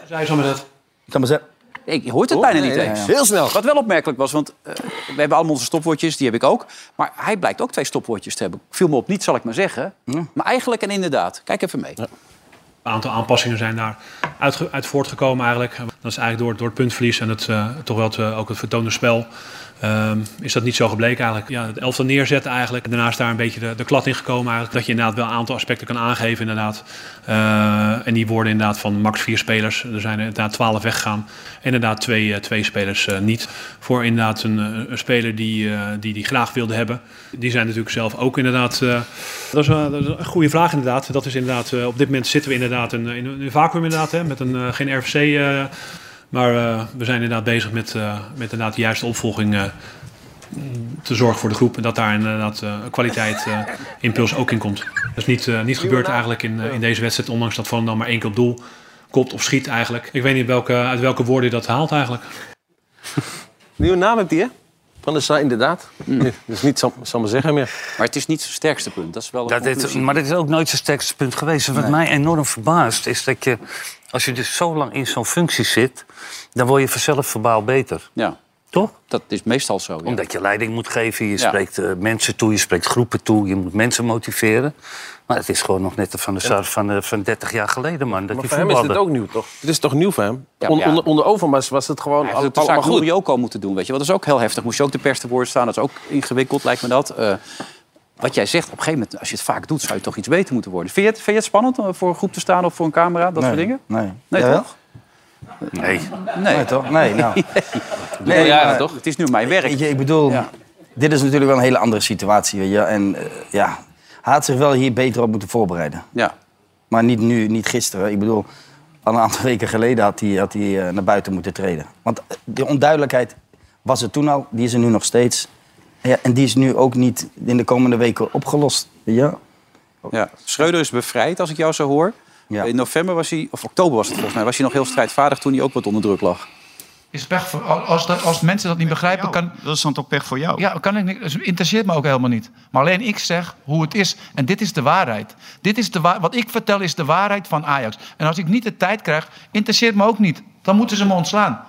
[SPEAKER 7] Zij zo met dat.
[SPEAKER 3] Ik kan maar zeggen, Oh,
[SPEAKER 2] Ik je hoort het bijna niet eens.
[SPEAKER 6] Heel snel.
[SPEAKER 2] Wat wel opmerkelijk was, want eh, we hebben allemaal onze stopwoordjes, die heb ik ook. Maar hij blijkt ook twee stopwoordjes te hebben. Viel me op niet, zal ik maar zeggen. Maar eigenlijk en inderdaad. Kijk even mee.
[SPEAKER 7] Een aantal aanpassingen zijn daar uitge- uit voortgekomen eigenlijk. Dat is eigenlijk door, door het puntverlies en het, eh, toch wel het, eh, ook het vertoonde spel... ehm, is dat niet zo gebleken eigenlijk. Ja, het elftal neerzetten eigenlijk. En daarnaast daar een beetje de, de klad in gekomen eigenlijk. Dat je inderdaad wel een aantal aspecten kan aangeven inderdaad. Eh, en die worden inderdaad van max vier spelers. Er zijn er inderdaad twaalf weggegaan. En inderdaad twee, eh, twee spelers eh, niet. Voor inderdaad een, eh, een speler die, eh, die die graag wilde hebben. Die zijn natuurlijk zelf ook inderdaad... eh, dat, is een, dat is een goede vraag inderdaad. Dat is inderdaad eh, op dit moment zitten we inderdaad in, in een vacuüm inderdaad. Hè, met een, eh, geen RFC... eh, maar eh, we zijn inderdaad bezig met, eh, met inderdaad de juiste opvolging eh, te zorgen voor de groep. En dat daar inderdaad eh, kwaliteit, eh, impuls ook in komt. Dat is niet, eh, niet gebeurd eigenlijk in, eh, in deze wedstrijd. Ondanks dat Van dan maar één keer op doel kopt of schiet eigenlijk. Ik weet niet welke, uit welke woorden je dat haalt eigenlijk.
[SPEAKER 5] Nieuwe naam hebt hij, hè? Van der Sar, inderdaad. Dus niet, zal, zal maar zeggen meer.
[SPEAKER 2] Hmm. Maar het is niet zijn sterkste punt. Dat is wel een
[SPEAKER 4] Dat is,
[SPEAKER 2] conclusie.
[SPEAKER 4] maar dat is ook nooit zijn sterkste punt geweest. En Wat mij enorm verbaast is dat je, als je dus zo lang in zo'n functie zit, dan word je vanzelf verbaal beter.
[SPEAKER 2] Ja,
[SPEAKER 4] Toch?
[SPEAKER 2] dat is meestal zo. ja.
[SPEAKER 4] Omdat je leiding moet geven, je
[SPEAKER 2] Ja.
[SPEAKER 4] spreekt eh, mensen toe, je spreekt groepen toe, je moet mensen motiveren. Maar het is gewoon nog net de Van de Sar van, eh, van 30 jaar geleden, man. Dat
[SPEAKER 5] Maar
[SPEAKER 4] die
[SPEAKER 5] voor hem is dit
[SPEAKER 4] voetbalde.
[SPEAKER 5] ook nieuw, toch? Dit is toch nieuw voor hem?
[SPEAKER 2] Ja,
[SPEAKER 5] On-
[SPEAKER 2] ja.
[SPEAKER 5] Onder, onder Overmars was het gewoon
[SPEAKER 2] Hij heeft
[SPEAKER 5] allemaal
[SPEAKER 2] het de zaak
[SPEAKER 5] allemaal goed.
[SPEAKER 2] Roerio ook Nou, al moeten doen, weet je. Want dat is ook heel heftig. Moest je ook de pers te woord staan. Dat is ook ingewikkeld, lijkt me dat. Eh, wat jij zegt, op een gegeven moment, als je het vaak doet... zou je toch iets beter moeten worden. Vind je het, vind je het spannend om voor een groep te staan of voor een camera? Dat soort dingen?
[SPEAKER 3] Nee.
[SPEAKER 2] Nee,
[SPEAKER 3] Jawel?
[SPEAKER 2] toch?
[SPEAKER 4] Nee.
[SPEAKER 2] Nee.
[SPEAKER 3] Nee,
[SPEAKER 2] <laughs>
[SPEAKER 3] toch? Nee, nou.
[SPEAKER 2] Nee, ja,
[SPEAKER 3] maar-
[SPEAKER 2] toch? Het is nu mijn werk.
[SPEAKER 3] Weet je, ik bedoel,
[SPEAKER 2] Ja.
[SPEAKER 3] dit is natuurlijk wel een hele andere situatie. Weet je? En eh, ja, hij had zich wel hier beter op moeten voorbereiden.
[SPEAKER 2] Ja.
[SPEAKER 3] Maar niet nu, niet gisteren. Ik bedoel, al een aantal <laughs> weken geleden had hij, had hij eh, naar buiten moeten treden. Want eh, die onduidelijkheid was er toen al, die is er nu nog steeds. Ja, en die is nu ook niet in de komende weken opgelost. weet je?
[SPEAKER 2] Ja. Schreuder is bevrijd, als ik jou zo hoor.
[SPEAKER 3] Ja.
[SPEAKER 2] In november was hij, of oktober was het volgens mij... was hij nog heel strijdvaardig toen hij ook wat onder druk lag.
[SPEAKER 9] is pech voor. Als, dat- als mensen dat niet begrijpen, kan,
[SPEAKER 6] Dat is dan toch pech voor jou?
[SPEAKER 9] ja, kan ik niet. dus het interesseert me ook helemaal niet. Maar alleen ik zeg hoe het is. En dit is de waarheid. Dit is de wa- wat ik vertel is de waarheid van Ajax. En als ik niet de tijd krijg, interesseert me ook niet. Dan moeten ze me ontslaan.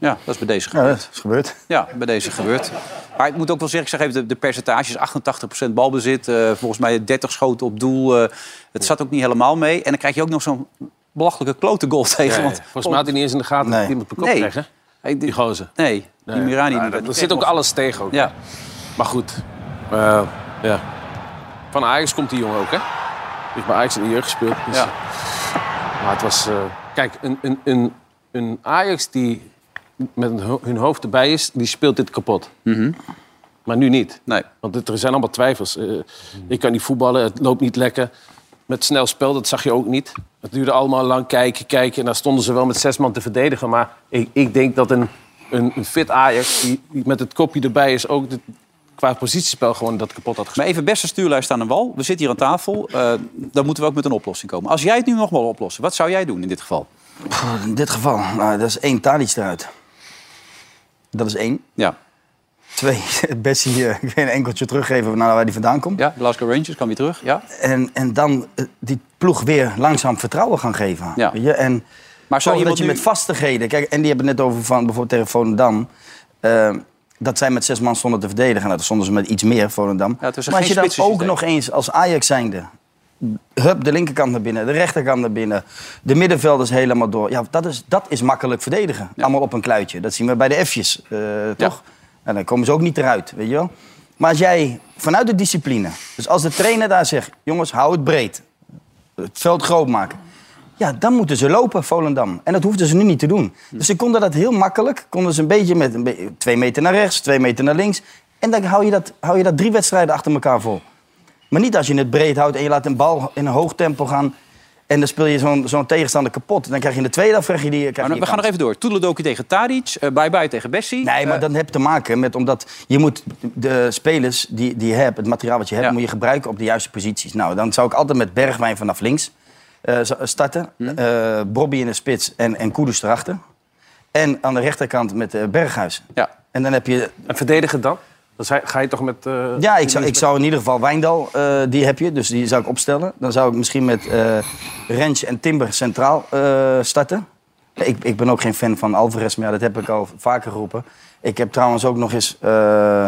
[SPEAKER 2] Ja, dat is bij deze
[SPEAKER 3] Ja, dat is gebeurd.
[SPEAKER 2] Ja, bij deze gebeurd. Maar ik moet ook wel zeggen, ik zeg even de, de percentages. 88% balbezit, eh, volgens mij 30 schoten op doel. eh, het zat ook niet helemaal mee. En dan krijg je ook nog zo'n belachelijke klote goal <laughs> tegen.
[SPEAKER 5] Nee,
[SPEAKER 2] want,
[SPEAKER 5] Volgens mij had hij niet eens in de gaten
[SPEAKER 3] Nee.
[SPEAKER 5] dat iemand op de kop
[SPEAKER 2] Nee.
[SPEAKER 5] kreeg, hè?
[SPEAKER 2] Hey, die-
[SPEAKER 5] Die gozer.
[SPEAKER 2] nee, die Mirani. die-
[SPEAKER 5] Er zit ook alles tegen. Ook.
[SPEAKER 2] Ja,
[SPEAKER 5] Maar goed. eh, ja. Van Ajax komt die jongen ook, hè? Die heeft bij Ajax in de jeugd gespeeld. dus-
[SPEAKER 2] Ja.
[SPEAKER 5] Maar het was... eh, kijk, een, een, een, een Ajax die met hun ho- hun hoofd erbij is, die speelt dit kapot. Maar nu niet.
[SPEAKER 2] Mhm. nee.
[SPEAKER 5] Want het- er zijn allemaal twijfels. Eh, ik kan niet voetballen, het loopt niet lekker. Met snel spel, dat zag je ook niet. Het duurde allemaal lang kijken, kijken. En dan stonden ze wel met zes man te verdedigen. Maar ik, ik denk dat een, een, een fit Ajax, die, die met het kopje erbij is... ook dit- qua positiespel gewoon dat kapot had gespeeld.
[SPEAKER 2] Maar even beste stuurlijst aan de wal. We zitten hier aan tafel. Eh, dan moeten we ook met een oplossing komen. Als jij het nu nog wil oplossen, wat zou jij doen in dit geval?
[SPEAKER 3] Pff, In dit geval, nou, dat is één Tadic eruit. Dat is één.
[SPEAKER 2] Ja,
[SPEAKER 3] Twee, <laughs> Bessie, eh, ik weet een enkeltje teruggeven naar waar die vandaan komt.
[SPEAKER 2] ja Glasgow Rangers kan weer terug. Ja.
[SPEAKER 3] En, en dan eh, die ploeg weer langzaam vertrouwen gaan geven.
[SPEAKER 2] Ja.
[SPEAKER 3] Weet je? En
[SPEAKER 2] Maar zou
[SPEAKER 3] zorgen dat
[SPEAKER 2] iemand
[SPEAKER 3] je
[SPEAKER 2] nu-
[SPEAKER 3] met vastigheden... Kijk, en die hebben het net over van bijvoorbeeld tegen Volendam... eh, dat zij met zes man stonden te verdedigen. Nou, dat stonden ze met iets meer, Volendam.
[SPEAKER 2] het was
[SPEAKER 3] maar als
[SPEAKER 2] geen
[SPEAKER 3] je dan ook
[SPEAKER 2] spitsensysteem.
[SPEAKER 3] nog eens als Ajax zijnde... Hup, de linkerkant naar binnen, de rechterkant naar binnen. De middenvelders helemaal door. Ja, dat is, dat is makkelijk verdedigen. Allemaal op een kluitje. Dat zien we bij de F'jes, eh, toch? En dan komen ze ook niet eruit, weet je wel? Maar als jij vanuit de discipline... Dus als de trainer daar zegt, jongens, hou het breed. Het veld groot maken. Ja, dan moeten ze lopen, Volendam. En dat hoefden ze nu niet te doen.
[SPEAKER 2] Hm.
[SPEAKER 3] Dus ze konden dat heel makkelijk. Konden ze een beetje met een be- twee meter naar rechts, twee meter naar links. En dan hou je, dat, hou je dat drie wedstrijden achter elkaar vol. Maar niet als je het breed houdt en je laat een bal in een hoog tempo gaan. En dan speel je zo'n zo'n tegenstander kapot. Dan krijg je in de tweede af, krijg je die. Krijg
[SPEAKER 2] Maar
[SPEAKER 3] je
[SPEAKER 2] we
[SPEAKER 3] die
[SPEAKER 2] gaan nog
[SPEAKER 3] kans.
[SPEAKER 2] even door. Toeledoki tegen Tadic, eh, bye-bye tegen Bessie.
[SPEAKER 3] Nee, maar
[SPEAKER 2] Eh,
[SPEAKER 3] dat heeft te maken met omdat je moet de spelers die, die je hebt, het materiaal wat je hebt,
[SPEAKER 2] Ja.
[SPEAKER 3] moet je gebruiken op de juiste posities. Nou, dan zou ik altijd met Bergwijn vanaf links eh, z- starten, Eh, Bobby in de spits en, en Kudus erachter. En aan de rechterkant met eh, Berghuis.
[SPEAKER 2] Ja.
[SPEAKER 3] En dan heb je,
[SPEAKER 5] En verdedigen dan? Dan zei- ga je toch met... eh,
[SPEAKER 3] ja, ik zou, ik zou in ieder geval Wijndal, eh, die heb je, dus die zou ik opstellen. Dan zou ik misschien met eh Rens en Timber centraal eh, starten. Ik, ik ben ook geen fan van Alvarez, maar ja, dat heb ik al vaker geroepen. Ik heb trouwens ook nog eens... eh,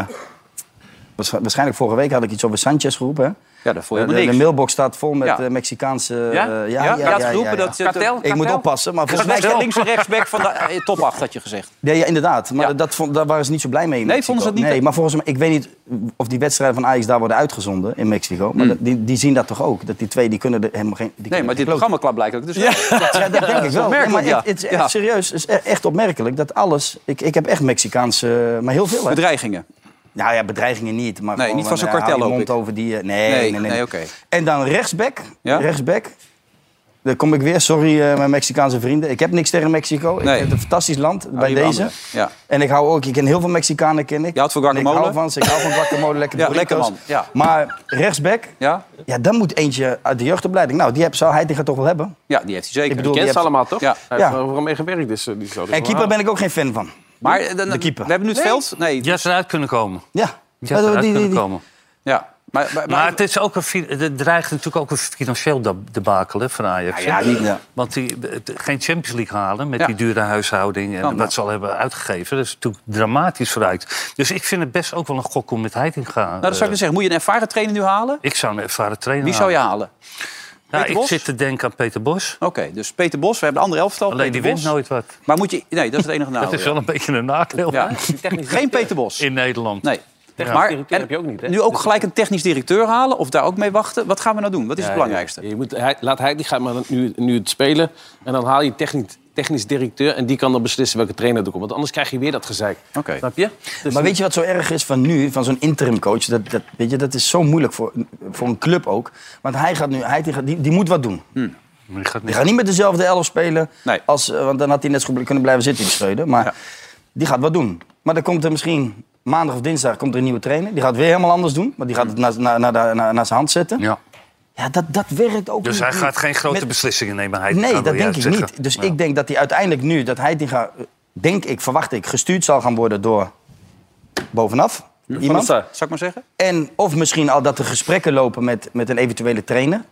[SPEAKER 3] waarsch- waarschijnlijk vorige week had ik iets over Sanchez geroepen. Hè?
[SPEAKER 2] ja, dat vond je
[SPEAKER 3] De,
[SPEAKER 2] helemaal
[SPEAKER 3] de
[SPEAKER 2] niks.
[SPEAKER 3] mailbox staat vol met
[SPEAKER 2] Ja.
[SPEAKER 3] eh, Mexicaanse... eh,
[SPEAKER 2] ja? Ja, je had geroepen dat... je-
[SPEAKER 5] Kartel?
[SPEAKER 3] Ik moet oppassen, maar volgens
[SPEAKER 2] Volgens mij
[SPEAKER 3] mij...
[SPEAKER 2] is de links- en <laughs> rechtsback van de eh, top 8, had je gezegd.
[SPEAKER 3] Nee, ja, inderdaad. Maar
[SPEAKER 2] Ja.
[SPEAKER 3] dat vond, daar waren ze niet zo blij mee in
[SPEAKER 2] Nee,
[SPEAKER 3] Mexico.
[SPEAKER 2] vonden ze dat niet-
[SPEAKER 3] Nee, maar volgens mij... Ik weet niet of die wedstrijden van Ajax daar worden uitgezonden in Mexico. Maar dat- die, die zien dat toch ook? Dat die twee, die kunnen er helemaal geen... die
[SPEAKER 2] Hmm. Nee,
[SPEAKER 3] kunnen
[SPEAKER 2] maar dit
[SPEAKER 3] geen klote.
[SPEAKER 2] programma klapt blijkbaar dus wel.
[SPEAKER 3] Ja,
[SPEAKER 2] <laughs>
[SPEAKER 3] dat denk ik wel. Nee, maar
[SPEAKER 2] opmerkelijk, ja.
[SPEAKER 3] het, het is echt
[SPEAKER 2] Ja.
[SPEAKER 3] serieus. Het is e- echt opmerkelijk dat alles... Ik, ik heb echt Mexicaanse... Maar heel veel, hè?
[SPEAKER 2] Bedreigingen.
[SPEAKER 3] Nou ja, bedreigingen niet. Maar
[SPEAKER 2] Nee,
[SPEAKER 3] gewoon
[SPEAKER 2] niet van zo'n
[SPEAKER 3] eh, hou je
[SPEAKER 2] kartel, hoop
[SPEAKER 3] mond
[SPEAKER 2] ik.
[SPEAKER 3] over die... eh, Nee,
[SPEAKER 2] Nee,
[SPEAKER 3] nee, nee.
[SPEAKER 2] nee, oké.
[SPEAKER 3] En dan rechtsback.
[SPEAKER 2] Ja?
[SPEAKER 3] Rechtsback. Daar kom ik weer. Sorry, eh, mijn Mexicaanse vrienden. Ik heb niks tegen Mexico. Ik
[SPEAKER 2] Nee.
[SPEAKER 3] vind het een fantastisch land bij
[SPEAKER 2] Arriba
[SPEAKER 3] deze.
[SPEAKER 2] Andre. Ja.
[SPEAKER 3] En ik hou ook... Ik ken heel veel Mexicanen, ken ik.
[SPEAKER 2] Je houdt van
[SPEAKER 3] En Ik
[SPEAKER 2] guacamole?
[SPEAKER 3] hou van ze. Ik hou van guacamole.
[SPEAKER 2] <laughs>
[SPEAKER 3] Lekker
[SPEAKER 2] Ja,
[SPEAKER 3] burritos.
[SPEAKER 2] lekker man, ja.
[SPEAKER 3] Maar rechtsback...
[SPEAKER 2] Ja?
[SPEAKER 3] Ja, dan moet eentje uit de jeugdopleiding. Nou, die heb, zou hij tegen toch wel hebben.
[SPEAKER 2] ja, die heeft hij zeker.
[SPEAKER 3] Ik bedoel,
[SPEAKER 5] Kent
[SPEAKER 3] die
[SPEAKER 5] ze allemaal, toch?
[SPEAKER 2] Ja.
[SPEAKER 5] Hij heeft
[SPEAKER 3] Ja.
[SPEAKER 5] er overal mee gewerkt, dus eh, die zou dus wel
[SPEAKER 3] En keeper
[SPEAKER 5] halen.
[SPEAKER 3] ben ik ook geen fan van.
[SPEAKER 2] maar eh, dan-
[SPEAKER 3] de keeper.
[SPEAKER 2] we hebben nu het veld. Nee.
[SPEAKER 4] Ja, ze eruit kunnen komen.
[SPEAKER 3] Ja.
[SPEAKER 4] Ja, ze eruit
[SPEAKER 3] Die- die-
[SPEAKER 4] kunnen
[SPEAKER 3] die-
[SPEAKER 4] komen.
[SPEAKER 2] Ja. Maar, maar,
[SPEAKER 4] Maar
[SPEAKER 2] maar-
[SPEAKER 4] het, is ook een, fi- het dreigt natuurlijk ook een financieel da- debakel hè, van Ajax.
[SPEAKER 3] Ja,
[SPEAKER 4] hè?
[SPEAKER 3] die- ja.
[SPEAKER 4] Want die, het- geen Champions League halen met
[SPEAKER 2] Ja.
[SPEAKER 4] die dure huishouding... en
[SPEAKER 2] Kan, ja.
[SPEAKER 4] wat ze al hebben uitgegeven, dat is natuurlijk dramatisch vooruit. Dus ik vind het best ook wel een gok om met Heitinga...
[SPEAKER 2] nou, dat zou ik
[SPEAKER 4] eh,
[SPEAKER 2] dus zeggen. Moet je een ervaren trainer nu halen?
[SPEAKER 4] ik zou een ervaren trainer
[SPEAKER 2] Wie zou je
[SPEAKER 4] halen.
[SPEAKER 2] halen?
[SPEAKER 4] Nou,
[SPEAKER 2] Peter
[SPEAKER 4] ik
[SPEAKER 2] Bos?
[SPEAKER 4] zit te denken aan Peter Bos.
[SPEAKER 2] Oké, dus Peter Bos. We hebben een andere elftal.
[SPEAKER 4] Alleen die
[SPEAKER 2] Peter
[SPEAKER 4] wint
[SPEAKER 2] Bos.
[SPEAKER 4] nooit wat.
[SPEAKER 2] Maar moet je... Nee, dat is het enige nadeel.
[SPEAKER 4] <laughs> dat is wel een beetje een nadeel
[SPEAKER 2] Nou, ja.
[SPEAKER 4] <laughs> hè,
[SPEAKER 2] Ja. Geen Peter Bos.
[SPEAKER 4] in Nederland.
[SPEAKER 2] Nee.
[SPEAKER 5] Technisch directeur heb je ook niet, hè?
[SPEAKER 2] nu ook
[SPEAKER 4] Dus-
[SPEAKER 2] gelijk een technisch directeur halen of daar ook mee wachten. Wat gaan we nou doen? Wat is het
[SPEAKER 5] Ja,
[SPEAKER 2] belangrijkste?
[SPEAKER 5] ja. Je moet, hij, laat hij die gaan maar nu, nu het spelen. En dan haal je technisch, technisch directeur. En die kan dan beslissen welke trainer er komt. Want anders krijg je weer dat gezeik.
[SPEAKER 2] Oké.
[SPEAKER 5] Snap je? Dus
[SPEAKER 3] Maar weet je wat zo erg is van nu, van zo'n interim coach? Dat, dat, weet je, dat is zo moeilijk voor, voor een club ook. Want hij gaat nu, hij, die, gaat- die, die moet wat doen.
[SPEAKER 4] Die gaat
[SPEAKER 3] Die
[SPEAKER 4] niet.
[SPEAKER 3] gaat niet met dezelfde elf spelen.
[SPEAKER 2] Nee.
[SPEAKER 3] Als, eh, want dan had hij net zo goed kunnen blijven zitten in Schreuder. Maar
[SPEAKER 2] Ja.
[SPEAKER 3] die gaat wat doen. Maar dan komt er misschien maandag of dinsdag komt er een nieuwe trainer. Die gaat weer helemaal anders doen. Want die gaat het naar na, na, na, na, naar zijn hand zetten. Ja,
[SPEAKER 4] Ja.
[SPEAKER 3] dat, dat werkt ook
[SPEAKER 4] Dus
[SPEAKER 3] niet.
[SPEAKER 4] hij gaat geen grote
[SPEAKER 3] Met-
[SPEAKER 4] beslissingen nemen. Heitinga,
[SPEAKER 3] Nee,
[SPEAKER 4] wil
[SPEAKER 3] dat
[SPEAKER 4] jij
[SPEAKER 3] denk ik
[SPEAKER 4] zeggen.
[SPEAKER 3] niet. Dus
[SPEAKER 4] Ja.
[SPEAKER 3] ik denk dat hij uiteindelijk nu, dat hij die gaat, denk ik, verwacht ik, gestuurd zal gaan worden door bovenaf.
[SPEAKER 4] Hm?
[SPEAKER 3] Iemand.
[SPEAKER 2] Zou ik maar zeggen?
[SPEAKER 3] En of misschien al dat er gesprekken lopen met, met een eventuele trainer.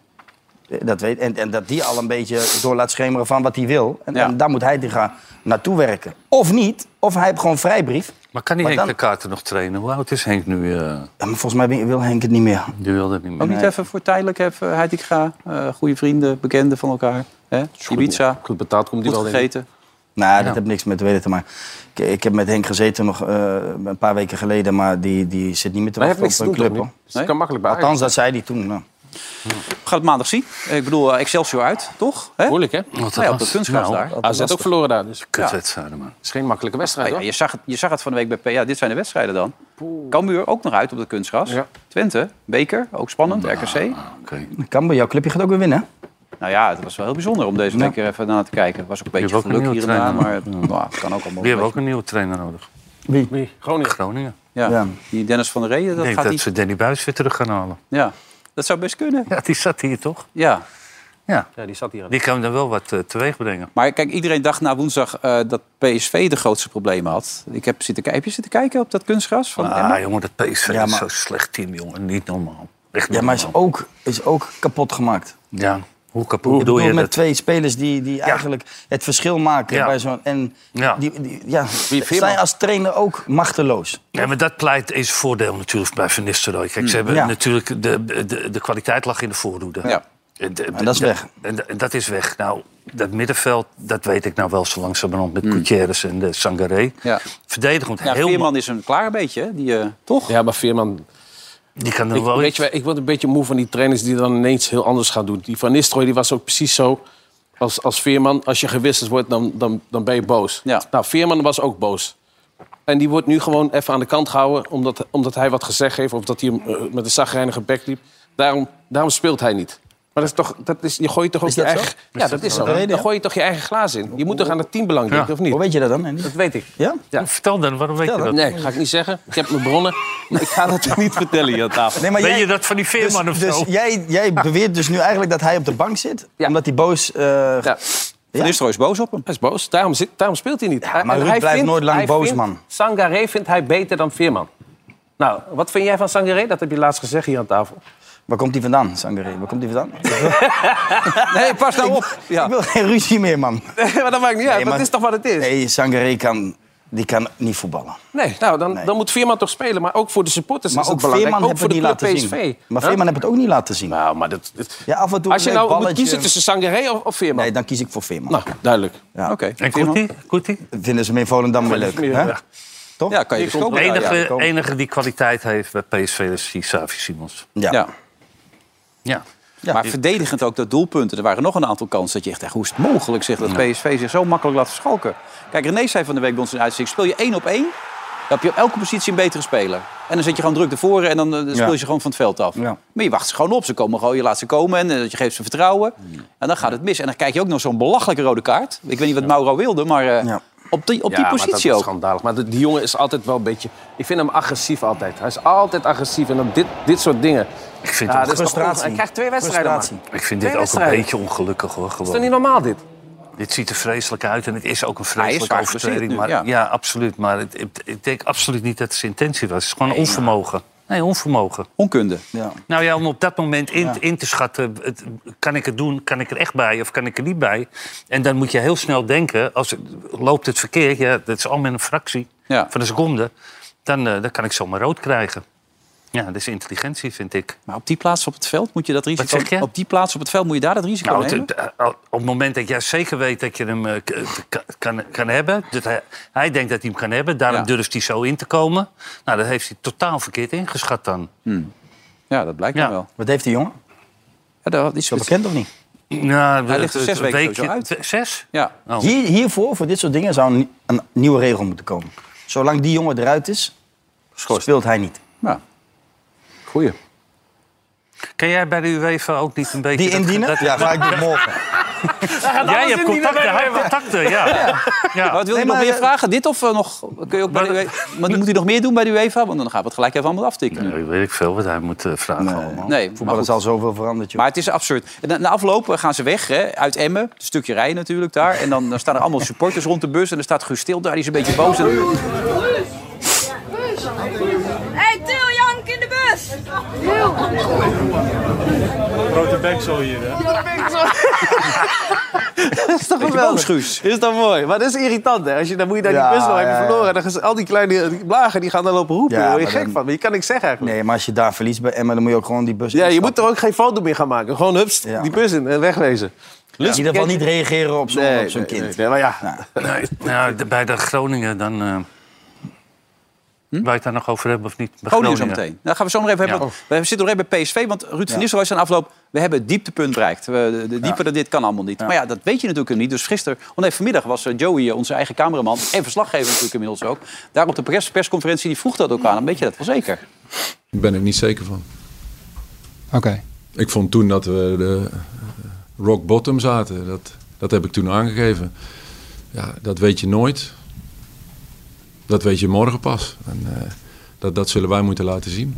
[SPEAKER 3] Eh, Dat weet, en, en dat die al een beetje door laat schemeren van wat hij wil. En,
[SPEAKER 2] Ja.
[SPEAKER 3] en daar moet hij die gaan naartoe werken. Of niet, of hij heeft gewoon vrijbrief.
[SPEAKER 4] Maar kan die
[SPEAKER 3] Maar
[SPEAKER 4] Henk
[SPEAKER 3] dan-
[SPEAKER 4] de Kaarten nog trainen? Hoe oud is Henk nu? eh
[SPEAKER 3] Ja, maar volgens mij wil Henk het niet meer. Oh,
[SPEAKER 4] die wil dat niet meer.
[SPEAKER 2] Ook niet even voor tijdelijk even, Heid ik ga. eh, goede vrienden, bekenden van elkaar. Hè? Ibiza,
[SPEAKER 5] Goed betaald komt hij
[SPEAKER 2] goed
[SPEAKER 5] wel in.
[SPEAKER 2] gegeten.
[SPEAKER 3] Nou, dat heeft niks met weten te maken. Ik, ik heb met Henk gezeten nog eh, een paar weken geleden, maar die, die zit niet meer te
[SPEAKER 5] Maar hij heeft
[SPEAKER 3] wachten
[SPEAKER 5] niks
[SPEAKER 3] op
[SPEAKER 5] te
[SPEAKER 3] een
[SPEAKER 5] doen, toch
[SPEAKER 3] club. hoor.
[SPEAKER 5] niet? Dus het kan makkelijk bij Ajax.
[SPEAKER 3] Althans, dat zei hij toen. nou.
[SPEAKER 2] We gaan het maandag zien. Ik bedoel, eh, Excelsior uit, toch? Hè?
[SPEAKER 5] Moeilijk, hè?
[SPEAKER 4] Wat
[SPEAKER 2] Ja, op
[SPEAKER 4] was-
[SPEAKER 2] de kunstgras
[SPEAKER 4] nou,
[SPEAKER 2] daar.
[SPEAKER 5] AZ ook verloren daar. Dus het
[SPEAKER 4] Kutwedstrijden, man.
[SPEAKER 5] is geen makkelijke wedstrijd,
[SPEAKER 2] Nou ja,
[SPEAKER 5] hoor.
[SPEAKER 2] je, zag het, je zag het van de week bij P. Ja, dit zijn de wedstrijden dan. Cambuur ook nog uit op de kunstgras.
[SPEAKER 5] Ja.
[SPEAKER 2] Twente, Beker, ook spannend. RKC.
[SPEAKER 4] Nou, Oké.
[SPEAKER 3] Cambuur, jouw clubje gaat ook weer winnen.
[SPEAKER 2] Nou ja, het was wel heel bijzonder om deze week er even naar te kijken. Het was ook een beetje
[SPEAKER 4] hebt ook een
[SPEAKER 2] geluk hier en
[SPEAKER 4] nieuwe
[SPEAKER 2] daar, maar
[SPEAKER 4] trainer.
[SPEAKER 2] nou, het kan ook allemaal.
[SPEAKER 4] Die
[SPEAKER 2] een
[SPEAKER 4] hebben ook een nieuwe trainer nodig.
[SPEAKER 5] Wie? Groningen.
[SPEAKER 4] Groningen.
[SPEAKER 2] beetje- ja.
[SPEAKER 3] Ja.
[SPEAKER 2] Die Dennis van der Reden,
[SPEAKER 4] Ik
[SPEAKER 2] dat
[SPEAKER 4] denk
[SPEAKER 2] gaat
[SPEAKER 4] dat
[SPEAKER 2] niet.
[SPEAKER 4] ze Danny Buis weer terug gaan halen. <laughs>
[SPEAKER 2] Ja, dat zou best kunnen.
[SPEAKER 4] Ja, die zat hier toch?
[SPEAKER 2] Ja.
[SPEAKER 4] Ja.
[SPEAKER 5] Ja, die zat hier. aan de-
[SPEAKER 4] Die kan dan wel wat eh, teweeg brengen.
[SPEAKER 2] Maar kijk, iedereen dacht na woensdag eh, dat PSV de grootste problemen had. Ik heb zitten, ki- heb je zitten kijken op dat kunstgras van Emma?
[SPEAKER 4] Ah, jongen, dat PSV
[SPEAKER 3] Ja,
[SPEAKER 4] is
[SPEAKER 3] maar-
[SPEAKER 4] zo'n slecht team, jongen. Niet normaal. Echt niet
[SPEAKER 3] Ja, maar is
[SPEAKER 4] normaal.
[SPEAKER 3] ook, is ook kapot gemaakt.
[SPEAKER 4] Ja. Hoe kapot
[SPEAKER 3] Ik
[SPEAKER 4] doe
[SPEAKER 3] bedoel,
[SPEAKER 4] je
[SPEAKER 3] met
[SPEAKER 4] dat?
[SPEAKER 3] twee spelers die, die eigenlijk het verschil maken
[SPEAKER 4] Ja.
[SPEAKER 3] bij zo'n... En
[SPEAKER 4] Ja.
[SPEAKER 3] die, die, ja,
[SPEAKER 5] Veerman?
[SPEAKER 3] zijn als trainer ook machteloos.
[SPEAKER 4] Ja, maar dat pleit is voordeel natuurlijk bij Van Nistelrooy. Kijk, ze hebben
[SPEAKER 3] Hmm. Ja.
[SPEAKER 4] natuurlijk de, de, de kwaliteit lag in de voorhoede.
[SPEAKER 2] Ja.
[SPEAKER 4] En de-
[SPEAKER 3] En dat is
[SPEAKER 4] de-
[SPEAKER 3] weg.
[SPEAKER 4] En de- en dat is weg. Nou, dat middenveld, dat weet ik nou wel zo langzamerhand
[SPEAKER 3] Hmm.
[SPEAKER 4] met Gutierrez en de Sangaré.
[SPEAKER 2] Ja.
[SPEAKER 4] Verdedigend,
[SPEAKER 2] Ja,
[SPEAKER 4] heel
[SPEAKER 2] Veerman is een klaar beetje, hè? die, eh, toch?
[SPEAKER 5] Ja, maar Veerman...
[SPEAKER 4] ma- Die kan er
[SPEAKER 5] Ik,
[SPEAKER 4] wel
[SPEAKER 5] weet je, wel, ik word een beetje moe van die trainers die dan ineens heel anders gaan doen. Die Van Nistelrooy die was ook precies zo. als, als Veerman, als je gewisseld wordt, dan, dan, dan ben je boos.
[SPEAKER 2] Ja.
[SPEAKER 5] Nou, Veerman was ook boos. En die wordt nu gewoon even aan de kant gehouden... omdat, omdat hij wat gezegd heeft of dat hij hem, eh, met een zagrijnige bek liep. Daarom, daarom speelt hij niet. Maar dat is toch, dat is, je gooit toch ook
[SPEAKER 3] Is
[SPEAKER 5] je
[SPEAKER 3] dat zo?
[SPEAKER 5] eigen... Ja, dat is zo.
[SPEAKER 3] Dat weet je,
[SPEAKER 5] Dan
[SPEAKER 3] ja.
[SPEAKER 5] gooi je toch je eigen glaas in. Je moet toch aan het teambelang denken, of
[SPEAKER 3] Hoe
[SPEAKER 5] niet?
[SPEAKER 3] weet je dat dan? Andy?
[SPEAKER 5] Dat weet ik.
[SPEAKER 3] Ja?
[SPEAKER 5] Ja.
[SPEAKER 4] Vertel dan, waarom weet je dat?
[SPEAKER 5] Nee, ga ik niet zeggen. Ik heb mijn bronnen. Maar ik ga dat <laughs> niet vertellen hier aan tafel.
[SPEAKER 3] Nee, maar
[SPEAKER 4] Weet
[SPEAKER 3] jij-
[SPEAKER 4] je dat van die veerman
[SPEAKER 3] dus,
[SPEAKER 4] of
[SPEAKER 3] dus
[SPEAKER 4] zo?
[SPEAKER 3] jij, jij beweert dus nu eigenlijk dat hij op de bank zit?
[SPEAKER 5] Ja.
[SPEAKER 3] Omdat hij boos... eh,
[SPEAKER 5] Ja.
[SPEAKER 2] Van Nistelrooy is boos op hem.
[SPEAKER 5] Hij is boos, daarom, zit, daarom speelt hij niet. Hij-
[SPEAKER 3] maar
[SPEAKER 5] en
[SPEAKER 3] Ruud
[SPEAKER 5] hij
[SPEAKER 3] blijft nooit lang
[SPEAKER 5] hij
[SPEAKER 3] boos,
[SPEAKER 5] vindt-
[SPEAKER 3] man.
[SPEAKER 5] Sangaré vindt hij beter dan Veerman. Nou, wat vind jij van Sangaré? Dat heb je laatst gezegd hier aan tafel.
[SPEAKER 3] Waar komt hij vandaan, Sangaré? Waar komt
[SPEAKER 5] <laughs>
[SPEAKER 3] hij vandaan?
[SPEAKER 2] Nee, pas nou op.
[SPEAKER 3] Ik wil geen ruzie meer, man.
[SPEAKER 5] <laughs> Nee, maar dat maakt niet uit,
[SPEAKER 3] Nee, maar-
[SPEAKER 5] dat is toch wat het is? Nee,
[SPEAKER 3] Nee, Sangaré kan, die kan niet voetballen.
[SPEAKER 5] nou, dan,
[SPEAKER 3] Nee.
[SPEAKER 5] dan moet Veerman toch spelen. Maar ook voor de supporters
[SPEAKER 3] Maar
[SPEAKER 5] Dus is het
[SPEAKER 3] ook
[SPEAKER 5] belangrijk.
[SPEAKER 3] Veerman
[SPEAKER 5] ook
[SPEAKER 3] hebben
[SPEAKER 5] voor
[SPEAKER 3] we
[SPEAKER 5] de
[SPEAKER 3] niet
[SPEAKER 5] club
[SPEAKER 3] laten
[SPEAKER 5] PSV.
[SPEAKER 3] zien. Maar
[SPEAKER 5] Huh?
[SPEAKER 3] Veerman heeft het ook niet laten zien.
[SPEAKER 5] Nou, maar dat, dat-
[SPEAKER 3] Ja, af en toe
[SPEAKER 5] als je
[SPEAKER 3] een
[SPEAKER 5] nou moet
[SPEAKER 3] balletje-
[SPEAKER 5] kiezen tussen Sangaré of, of Veerman.
[SPEAKER 3] Nee, dan kies ik voor Veerman.
[SPEAKER 5] Nou, duidelijk.
[SPEAKER 3] Ja.
[SPEAKER 2] Oké.
[SPEAKER 4] En Koetie? Koetie?
[SPEAKER 3] Dat Vinden ze me in Volendam weer leuk, hè?
[SPEAKER 5] Ja.
[SPEAKER 3] Toch?
[SPEAKER 2] Ja, kan je dus
[SPEAKER 5] komt
[SPEAKER 2] kopen.
[SPEAKER 4] De
[SPEAKER 5] Ja,
[SPEAKER 4] enige,
[SPEAKER 3] die komen.
[SPEAKER 4] enige die kwaliteit heeft bij PSV is die Savi Simons.
[SPEAKER 3] Ja.
[SPEAKER 2] Ja.
[SPEAKER 4] Ja.
[SPEAKER 2] Maar verdedigend ook dat doelpunten. Er waren nog een aantal kansen dat je echt dacht... hoe is het mogelijk zeg, dat PSV zich zo makkelijk laat verschalken? Kijk, René zei van de week bij ons in de uitzending... speel je één op één, dan heb je op elke positie een betere speler. En dan zet je gewoon druk ervoor en dan eh, dan speel je ze gewoon van het veld af.
[SPEAKER 3] Ja.
[SPEAKER 2] Maar je wacht ze gewoon op. Ze komen gewoon, je laat ze komen en eh, je geeft ze vertrouwen. En dan gaat het mis. En dan kijk je ook nog zo'n belachelijke rode kaart. Ik weet niet wat Mauro wilde, maar eh,
[SPEAKER 3] Ja.
[SPEAKER 2] op die, op die
[SPEAKER 5] ja, maar
[SPEAKER 2] positie
[SPEAKER 5] dat is
[SPEAKER 2] ook.
[SPEAKER 5] schandalig. Maar de- die jongen is altijd wel een beetje... Ik vind hem agressief altijd. Hij is altijd agressief. En op dit, dit soort dingen...
[SPEAKER 4] Ik vind,
[SPEAKER 5] Ja,
[SPEAKER 4] het-
[SPEAKER 5] dat is toch
[SPEAKER 3] frustratie.
[SPEAKER 5] onge- Hij krijgt twee wedstrijden, man.
[SPEAKER 3] Frustratie.
[SPEAKER 4] ik vind
[SPEAKER 5] Twee
[SPEAKER 4] dit ook een
[SPEAKER 5] wedstrijden.
[SPEAKER 4] beetje ongelukkig hoor. Gewoon.
[SPEAKER 5] Is dat niet normaal, dit?
[SPEAKER 4] Dit ziet er vreselijk uit en het is ook
[SPEAKER 2] Hij
[SPEAKER 4] een
[SPEAKER 2] is
[SPEAKER 4] vreselijke
[SPEAKER 2] zwaar
[SPEAKER 4] overtreding.
[SPEAKER 2] geblesseerd
[SPEAKER 4] Maar,
[SPEAKER 2] nu,
[SPEAKER 4] ja. absoluut. Maar het, het- ik denk absoluut niet dat het zijn intentie was. Het is gewoon onvermogen. Nee, onvermogen.
[SPEAKER 2] Onkunde.
[SPEAKER 3] Ja.
[SPEAKER 4] Nou ja, om op dat moment in, in te schatten... het- kan ik het doen, kan ik er echt bij of kan ik er niet bij? En dan moet je heel snel denken... Als, het- loopt het verkeerd, ja, dat is allemaal een fractie
[SPEAKER 2] Ja.
[SPEAKER 4] van een seconde... Dan, eh, dan kan ik zomaar rood krijgen. Ja, dat is intelligentie, vind ik.
[SPEAKER 2] Maar op die plaats op het veld moet je dat risico...
[SPEAKER 4] zeg je?
[SPEAKER 2] Op die plaats op het veld moet je daar dat risico
[SPEAKER 4] Nou,
[SPEAKER 2] nemen?
[SPEAKER 4] het- het- al- op het moment dat jij zeker weet dat je hem eh, k- k- kan, kan hebben... Dat hij, hij denkt dat hij hem kan hebben, daarom
[SPEAKER 2] Ja.
[SPEAKER 4] durft hij zo in te komen. Nou, dat heeft hij totaal verkeerd ingeschat dan.
[SPEAKER 3] Hmm.
[SPEAKER 2] Ja, dat blijkt
[SPEAKER 4] Ja.
[SPEAKER 2] dan wel.
[SPEAKER 3] Wat heeft die jongen?
[SPEAKER 2] Ja, dat is
[SPEAKER 3] Is dat bekend of niet?
[SPEAKER 4] Nou,
[SPEAKER 2] Hij ligt er
[SPEAKER 4] het-
[SPEAKER 2] zes
[SPEAKER 4] het
[SPEAKER 2] weken
[SPEAKER 4] weekje-
[SPEAKER 2] sowieso
[SPEAKER 4] Zes?
[SPEAKER 2] Ja.
[SPEAKER 4] Oh.
[SPEAKER 3] Hier, hiervoor, voor dit soort dingen, zou een, een nieuwe regel moeten komen. Zolang die jongen eruit is, speelt hij niet.
[SPEAKER 5] Nou,
[SPEAKER 2] ja. Goeie.
[SPEAKER 4] Kan jij bij de UEFA ook niet een beetje...
[SPEAKER 3] Die
[SPEAKER 4] dat-
[SPEAKER 3] indienen?
[SPEAKER 4] dat-
[SPEAKER 3] Ja, ga
[SPEAKER 4] <laughs>
[SPEAKER 3] ik doen morgen.
[SPEAKER 4] jij hebt contacten, hij heeft contacten, ja. ja.
[SPEAKER 2] wat Oh, wil je
[SPEAKER 3] Nee,
[SPEAKER 2] nog
[SPEAKER 3] maar,
[SPEAKER 2] meer vragen? Dit of eh, nog? Kun je ook bij de
[SPEAKER 4] Maar-
[SPEAKER 2] UEFA? Maar moet hij nog meer doen bij de UEFA? Want dan gaan we het gelijk even allemaal aftikken. Nee,
[SPEAKER 4] Nee, weet ik veel wat hij moet eh, vragen allemaal.
[SPEAKER 2] maar,
[SPEAKER 3] Maar er
[SPEAKER 2] goed.
[SPEAKER 3] is al zoveel veranderd, joh.
[SPEAKER 2] maar het is absurd. En na- Na afloop eh, gaan ze weg hè, uit Emmen. Een stukje rij natuurlijk daar. En dan, dan staan er allemaal supporters rond de bus. En dan staat Guus stil daar. Die is een beetje boos. En-
[SPEAKER 6] Hey, Til, Jank in de bus!
[SPEAKER 5] <laughs>
[SPEAKER 2] boos, Guus.
[SPEAKER 5] Is dat mooi? Maar dat is irritant, hè? Als je, dan moet je daar
[SPEAKER 3] Ja,
[SPEAKER 5] die bus wel hebben
[SPEAKER 3] ja, ja.
[SPEAKER 5] verloren. En dan gaan al die kleine die blagen die gaan dan lopen roepen.
[SPEAKER 3] Ja,
[SPEAKER 5] Daar word je
[SPEAKER 3] maar
[SPEAKER 5] gek
[SPEAKER 3] dan-
[SPEAKER 5] van. Maar je kan niks zeggen eigenlijk.
[SPEAKER 3] Nee, maar als je daar verliest bij Emma, dan moet je ook gewoon die bus
[SPEAKER 5] Ja, je
[SPEAKER 3] instappen.
[SPEAKER 5] moet er ook geen foto meer gaan maken. Gewoon hups,
[SPEAKER 3] Ja.
[SPEAKER 5] die bus in en wegwezen.
[SPEAKER 3] In ieder geval niet reageren op zo'n
[SPEAKER 5] Nee,
[SPEAKER 3] op zo'n
[SPEAKER 5] nee, nee,
[SPEAKER 3] kind.
[SPEAKER 5] nee, maar ja.
[SPEAKER 4] Nee, nou, de- bij de Groningen dan... eh
[SPEAKER 2] Hm?
[SPEAKER 4] Waar je het daar nog over hebben of niet? Bij
[SPEAKER 2] Groningen zo
[SPEAKER 4] Groningen.
[SPEAKER 2] meteen. Dan gaan we zo maar even hebben.
[SPEAKER 4] Ja.
[SPEAKER 2] We zitten nog even bij PSV, want Ruud van Nistelrooy is aan de afloop... we hebben het dieptepunt bereikt. We, de, de dieper dan dit kan allemaal niet. Maar ja, dat weet je natuurlijk niet. Dus gisteren, oh nee, vanmiddag was eh, Joey, eh, onze eigen cameraman... en verslaggever natuurlijk inmiddels ook... daar op de pers, persconferentie, die vroeg dat ook aan. Dan weet je dat wel zeker.
[SPEAKER 10] Ik ben er niet zeker van.
[SPEAKER 11] Oké,
[SPEAKER 10] Ik vond toen dat we de eh, rock bottom zaten. Dat, dat heb ik toen aangegeven. Ja, dat weet je nooit. Dat weet je morgen pas. En, eh, dat, dat zullen wij moeten laten zien.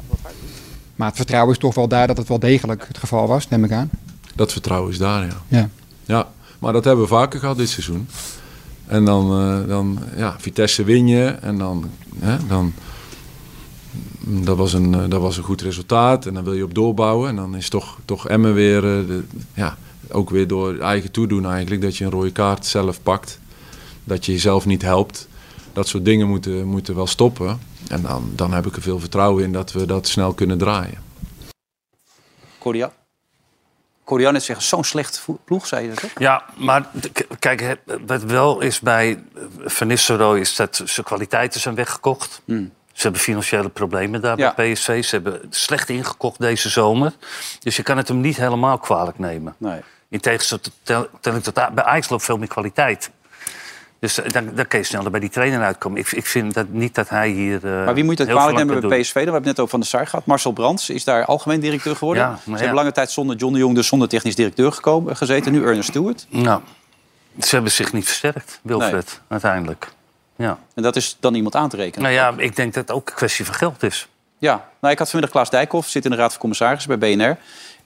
[SPEAKER 11] maar het vertrouwen is toch wel daar dat het wel degelijk het geval was, neem ik aan.
[SPEAKER 10] Dat vertrouwen is daar, ja.
[SPEAKER 11] Ja.
[SPEAKER 10] ja. Maar dat hebben we vaker gehad dit seizoen. En dan, eh, dan ja, Vitesse win je. En dan, hè, dan dat, was een, eh, dat was een goed resultaat. En dan wil je op doorbouwen. En dan is toch, toch Emmen weer, eh, de- ja, ook weer door eigen toedoen eigenlijk, dat je een rode kaart zelf pakt. Dat je jezelf niet helpt. Dat soort dingen moeten, moeten wel stoppen. En dan, dan heb ik er veel vertrouwen in dat we dat snel kunnen draaien.
[SPEAKER 2] Cordial. Cordial net zeggen, zo'n slecht vo- ploeg, zei je dat, toch?
[SPEAKER 4] Ja, maar k- kijk, hè, wat wel is bij eh, Van Nistelrooy... is dat zijn kwaliteiten zijn weggekocht. Ze hebben financiële problemen daar
[SPEAKER 2] Hmm. Ja.
[SPEAKER 4] bij PSV. Ze hebben slecht ingekocht deze zomer. Dus je kan het hem niet helemaal kwalijk nemen.
[SPEAKER 2] Nee.
[SPEAKER 4] In tegenstelling tot- tel ik tot bij Ajax loopt veel meer kwaliteit. Dus eh, dan, dan kun je sneller bij die trainer uitkomen. Ik, ik vind dat, niet dat hij hier. eh,
[SPEAKER 2] Maar wie moet het kwalijk nemen bij PSV? Dan hebben we het net over Van der Sar gehad. Marcel Brands is daar algemeen directeur geworden.
[SPEAKER 4] Ja, maar
[SPEAKER 2] Ze
[SPEAKER 4] ja.
[SPEAKER 2] hebben lange tijd zonder John de Jong, dus zonder technisch directeur gekomen, gezeten. Nu Ernest Stewart.
[SPEAKER 4] Nou, ze hebben zich niet versterkt, Wilfred, uiteindelijk. Ja.
[SPEAKER 2] En dat is dan iemand aan te rekenen.
[SPEAKER 4] Nou ja, ik denk dat het ook een kwestie van geld is.
[SPEAKER 2] Ja, nou, ik had vanmiddag Klaas Dijkhoff, zit in de Raad van Commissarissen bij BNR. En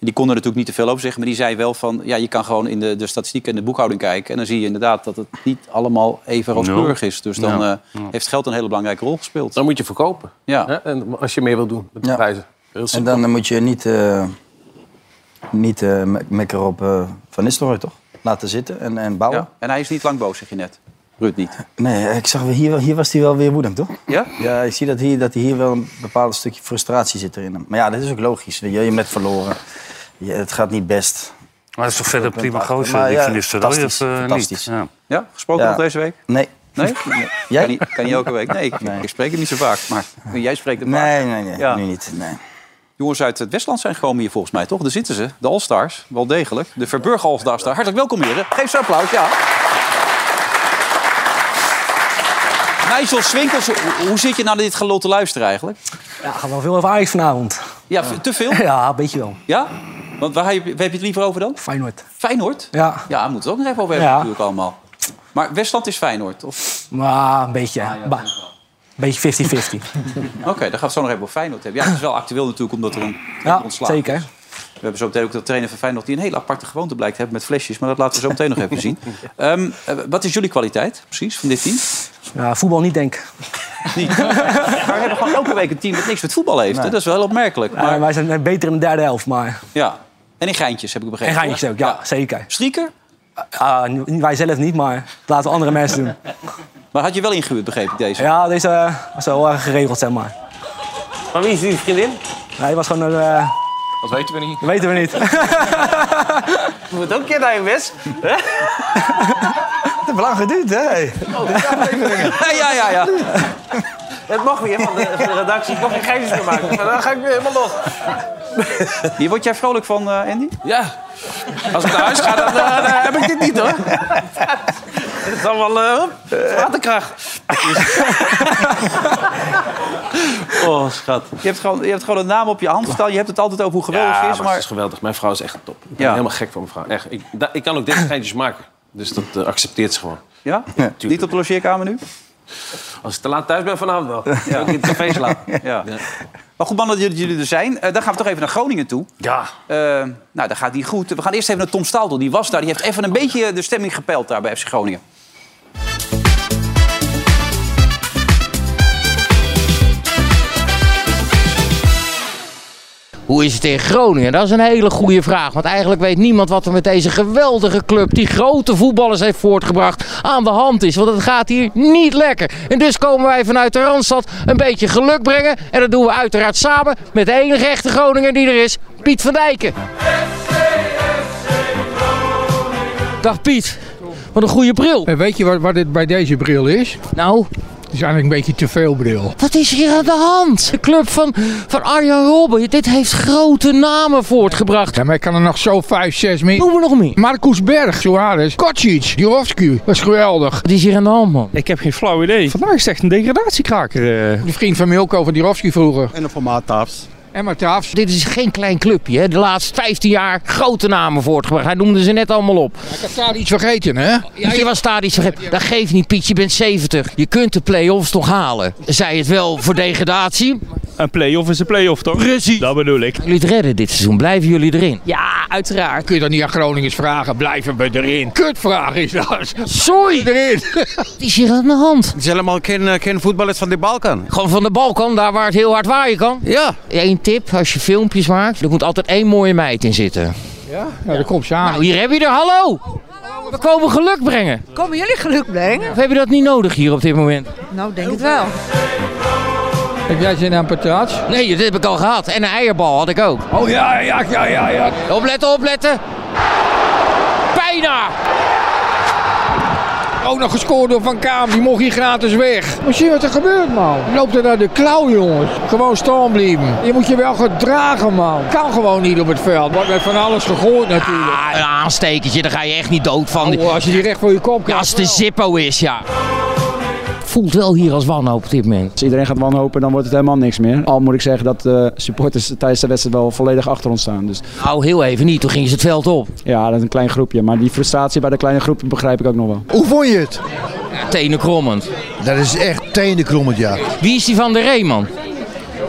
[SPEAKER 2] die kon er natuurlijk niet te veel over zeggen, maar die zei wel van... ja, je kan gewoon in de, de statistieken en de boekhouding kijken... en dan zie je inderdaad dat het niet allemaal even rooskleurig is. Dus dan
[SPEAKER 4] Ja.
[SPEAKER 2] eh, heeft geld een hele belangrijke rol gespeeld.
[SPEAKER 5] Dan moet je verkopen.
[SPEAKER 2] Ja.
[SPEAKER 5] Hè? En als je meer wil doen met de
[SPEAKER 3] Ja.
[SPEAKER 5] prijzen. Heel
[SPEAKER 3] En
[SPEAKER 5] simpel.
[SPEAKER 3] dan eh, moet je niet, eh niet eh, mek- mekker op eh, Van Nistelrooy, toch? Laten zitten en, en bouwen.
[SPEAKER 2] Ja. En hij is niet lang boos, zeg je net. Ruud niet.
[SPEAKER 3] Nee, ik zag wel- hier, wel- hier was hij wel weer woedend, toch?
[SPEAKER 2] Ja?
[SPEAKER 3] Ja, ik zie dat hier, dat hier wel een bepaald stukje frustratie zit erin. hem. Maar ja, dat is ook logisch. weet Je, je bent verloren. Je- het gaat niet best.
[SPEAKER 4] Maar dat is toch verder een prima eh,
[SPEAKER 3] Maar
[SPEAKER 4] gozer, die
[SPEAKER 3] ja,
[SPEAKER 4] Van Nistelrooy, of
[SPEAKER 3] fantastisch,
[SPEAKER 4] eh, niet?
[SPEAKER 3] fantastisch.
[SPEAKER 4] Ja.
[SPEAKER 2] Ja? Gesproken
[SPEAKER 3] Ja.
[SPEAKER 2] nog deze week?
[SPEAKER 3] Nee. <laughs>
[SPEAKER 2] Nee?
[SPEAKER 3] Jij?
[SPEAKER 2] Kan, niet, kan niet elke week. Nee ik,
[SPEAKER 3] Nee.
[SPEAKER 2] ik spreek het niet zo vaak. Maar jij spreekt het vaak.
[SPEAKER 3] Nee, nee, nee.
[SPEAKER 2] Ja.
[SPEAKER 3] Nu niet. Nee.
[SPEAKER 2] Jongens uit het Westland zijn gekomen hier volgens mij, toch? Daar zitten ze, de All-Stars, wel degelijk. De Verburg All-Stars daar. Hartelijk welkom, heren. Geef ze een applaus, ja. Nigel Swinkels, hoe, hoe zit je nou naar dit gelotte luisteren eigenlijk?
[SPEAKER 12] Ja, gaat wel veel over Ajax vanavond.
[SPEAKER 2] Ja, v- te veel?
[SPEAKER 12] Ja, een beetje wel.
[SPEAKER 2] Ja? Want waar heb je, waar heb je het liever over dan?
[SPEAKER 12] Feyenoord.
[SPEAKER 2] Feyenoord?
[SPEAKER 12] Ja,
[SPEAKER 2] Ja, daar moeten we het ook nog even over hebben
[SPEAKER 12] Ja.
[SPEAKER 2] natuurlijk allemaal. Maar Westland is Feyenoord, of?
[SPEAKER 12] maar een beetje. Ba- beetje
[SPEAKER 2] <laughs>
[SPEAKER 12] 50-50.
[SPEAKER 2] Oké, dan gaan we het zo nog even over Feyenoord hebben. Ja, het is wel actueel natuurlijk, omdat er een
[SPEAKER 12] ja,
[SPEAKER 2] ontslaat is.
[SPEAKER 12] zeker.
[SPEAKER 2] We hebben zo meteen ook de trainer van Feyenoord... die een hele aparte gewoonte blijkt te hebben met flesjes. Maar dat laten we zo meteen nog even
[SPEAKER 12] <laughs>
[SPEAKER 2] zien. Ehm, eh, wat is jullie kwaliteit precies van dit team?
[SPEAKER 12] Ja, voetbal niet, denk ik.
[SPEAKER 2] Niet. maar we hebben gewoon elke week een team dat niks met voetbal heeft. hè? Dat is wel heel opmerkelijk.
[SPEAKER 12] Eh,
[SPEAKER 2] Maar,
[SPEAKER 12] wij zijn beter in de derde helft, maar...
[SPEAKER 2] ja. En in geintjes, heb ik
[SPEAKER 12] En
[SPEAKER 2] begrepen.
[SPEAKER 12] geintjes ook, ja, zeker.
[SPEAKER 2] Strieker?
[SPEAKER 12] Ah, n- wij zelf niet, maar dat laten we andere <laughs> mensen doen.
[SPEAKER 2] Maar had je wel ingehuurd, begreep ik deze.
[SPEAKER 12] Ja, deze eh, was wel erg geregeld, zeg maar.
[SPEAKER 5] Van wie is die vriendin?
[SPEAKER 12] Hij was gewoon een... eh,
[SPEAKER 5] Dat weten we niet.
[SPEAKER 12] dat weten we
[SPEAKER 2] <laughs>
[SPEAKER 12] niet.
[SPEAKER 5] Je <laughs> moet ook een keer naar je best.
[SPEAKER 3] Het heeft lang geduurd, hè?
[SPEAKER 5] Oh, <laughs>
[SPEAKER 2] Ja, ja, ja. ja.
[SPEAKER 5] Het mag weer van de, van de redactie. Ik mag geen geintjes meer maken. Maar dan ga ik weer helemaal los.
[SPEAKER 2] Hier word jij vrolijk van, eh, Andy?
[SPEAKER 5] Ja. Als ik naar huis ga, dan, eh, dan heb ik dit niet hoor. Het is allemaal eh, hup, waterkracht. oh, schat.
[SPEAKER 2] Je hebt gewoon, je hebt gewoon een naam op je hand staan. Je hebt het altijd over hoe geweldig
[SPEAKER 5] Ja,
[SPEAKER 2] het
[SPEAKER 5] maar
[SPEAKER 2] is.
[SPEAKER 5] het is
[SPEAKER 2] Maar...
[SPEAKER 5] geweldig. Mijn vrouw is echt top. Ik ben
[SPEAKER 2] Ja.
[SPEAKER 5] helemaal gek van mijn vrouw. Echt, ik, da- ik kan ook dit soort geintjes maken. Dus dat eh, accepteert ze gewoon.
[SPEAKER 2] Ja? Niet op de logeerkamer nu?
[SPEAKER 5] Als ik te laat thuis ben vanavond wel. Dan kan ik in het café <laughs> slaan.
[SPEAKER 2] Ja. Maar goed, mannen, dat jullie er zijn. Eh, dan gaan we toch even naar Groningen toe.
[SPEAKER 4] Ja,
[SPEAKER 2] Eh, nou, daar gaat die goed. We gaan eerst even naar Tom Staal toe. Die was daar. Die heeft even een beetje de stemming gepeild daar bij FC Groningen.
[SPEAKER 13] Hoe is het in Groningen? Dat is een hele goede vraag. Want eigenlijk weet niemand wat er met deze geweldige club, die grote voetballers heeft voortgebracht, aan de hand is. Want het gaat hier niet lekker. En dus komen wij vanuit de Randstad een beetje geluk brengen. En dat doen we uiteraard samen met de enige echte Groninger die er is, Piet van Dijken. Dag Piet. Wat een goede bril.
[SPEAKER 14] Eh, Weet je wat, wat het bij deze bril is? Het
[SPEAKER 13] Nou,
[SPEAKER 14] is eigenlijk een beetje te veel bril.
[SPEAKER 13] Wat is hier aan de hand? De club van, van Arjen Robben, dit heeft grote namen voortgebracht.
[SPEAKER 14] Ja, maar ik kan er nog zo 5, 6 meer.
[SPEAKER 13] Noem er nog meer.
[SPEAKER 14] Marcus Berg, Suarez, Kocic, Jorovski. Dat is geweldig.
[SPEAKER 13] Wat is hier aan de hand, man?
[SPEAKER 14] Ik heb geen flauw idee. Vandaag is echt een degradatiekraker. Die vriend van Milko van Jorovski vroeger.
[SPEAKER 15] En op formaat tafs.
[SPEAKER 14] En Matafs.
[SPEAKER 13] Dit is geen klein clubje. Hè. De laatste 15 jaar grote namen voortgebracht. Hij noemde ze net allemaal op.
[SPEAKER 14] Ik had daar iets vergeten, hè?
[SPEAKER 13] Ja, je was stadisch vergeten. Dat geeft niet, Piet. Je bent 70. Je kunt de play-offs toch halen. Zij het wel voor degradatie.
[SPEAKER 15] Een play-off is een play-off, toch?
[SPEAKER 13] Precies.
[SPEAKER 15] Dat bedoel ik.
[SPEAKER 13] Jullie het redden dit seizoen. Blijven jullie erin?
[SPEAKER 6] Ja, uiteraard.
[SPEAKER 14] Kun je dat niet aan Groningers vragen? Blijven we erin? Kutvraag is dat.
[SPEAKER 13] Sorry.
[SPEAKER 14] Erin.
[SPEAKER 13] Wat is hier aan de hand?
[SPEAKER 15] Het is helemaal geen, eh, geen voetballers van de Balkan.
[SPEAKER 13] Gewoon van de balkan, daar waar het heel hard waaien kan.
[SPEAKER 15] Ja.
[SPEAKER 13] Eén tip, als je filmpjes maakt, er moet altijd één mooie meid in zitten.
[SPEAKER 14] Ja, daar komt ze aan.
[SPEAKER 13] Nou, hier heb je er. Hallo. We komen geluk brengen.
[SPEAKER 6] Komen jullie geluk brengen?
[SPEAKER 13] Of heb je dat niet nodig hier op dit moment?
[SPEAKER 6] Nou, denk het wel.
[SPEAKER 14] Heb jij zin aan patats?
[SPEAKER 13] Nee, dat heb ik al gehad. En een eierbal had ik ook.
[SPEAKER 14] Oh ja, ja, ja, ja, ja.
[SPEAKER 13] Opletten, opletten. Bijna.
[SPEAKER 16] Ook nog gescoord door Van Kaam, die mocht hier gratis weg. Maar zie je wat er gebeurt, man. Je loopt er naar de klauw, jongens. Gewoon staan blijven. Je moet je wel gedragen, man. Kan gewoon niet op het veld. Wordt met van alles gegooid, natuurlijk.
[SPEAKER 13] Ah, een aanstekertje, daar ga je echt niet dood van.
[SPEAKER 16] Oh, als je die recht voor je kop
[SPEAKER 13] krijgt. Als het een Zippo is, ja. Voelt wel hier als wanhoop op dit moment.
[SPEAKER 17] Als iedereen gaat wanhopen, dan wordt het helemaal niks meer. Al moet ik zeggen dat de supporters tijdens de wedstrijd wel volledig achter ons staan. Dus.
[SPEAKER 13] Nou, heel even niet. Toen gingen ze het veld op.
[SPEAKER 17] Ja, dat is een klein groepje. Maar die frustratie bij de kleine groepen begrijp ik ook nog wel.
[SPEAKER 18] Hoe vond je het?
[SPEAKER 13] Tenenkrommend.
[SPEAKER 18] Dat is echt tenenkrommend, ja.
[SPEAKER 13] Wie is die van de Reeman?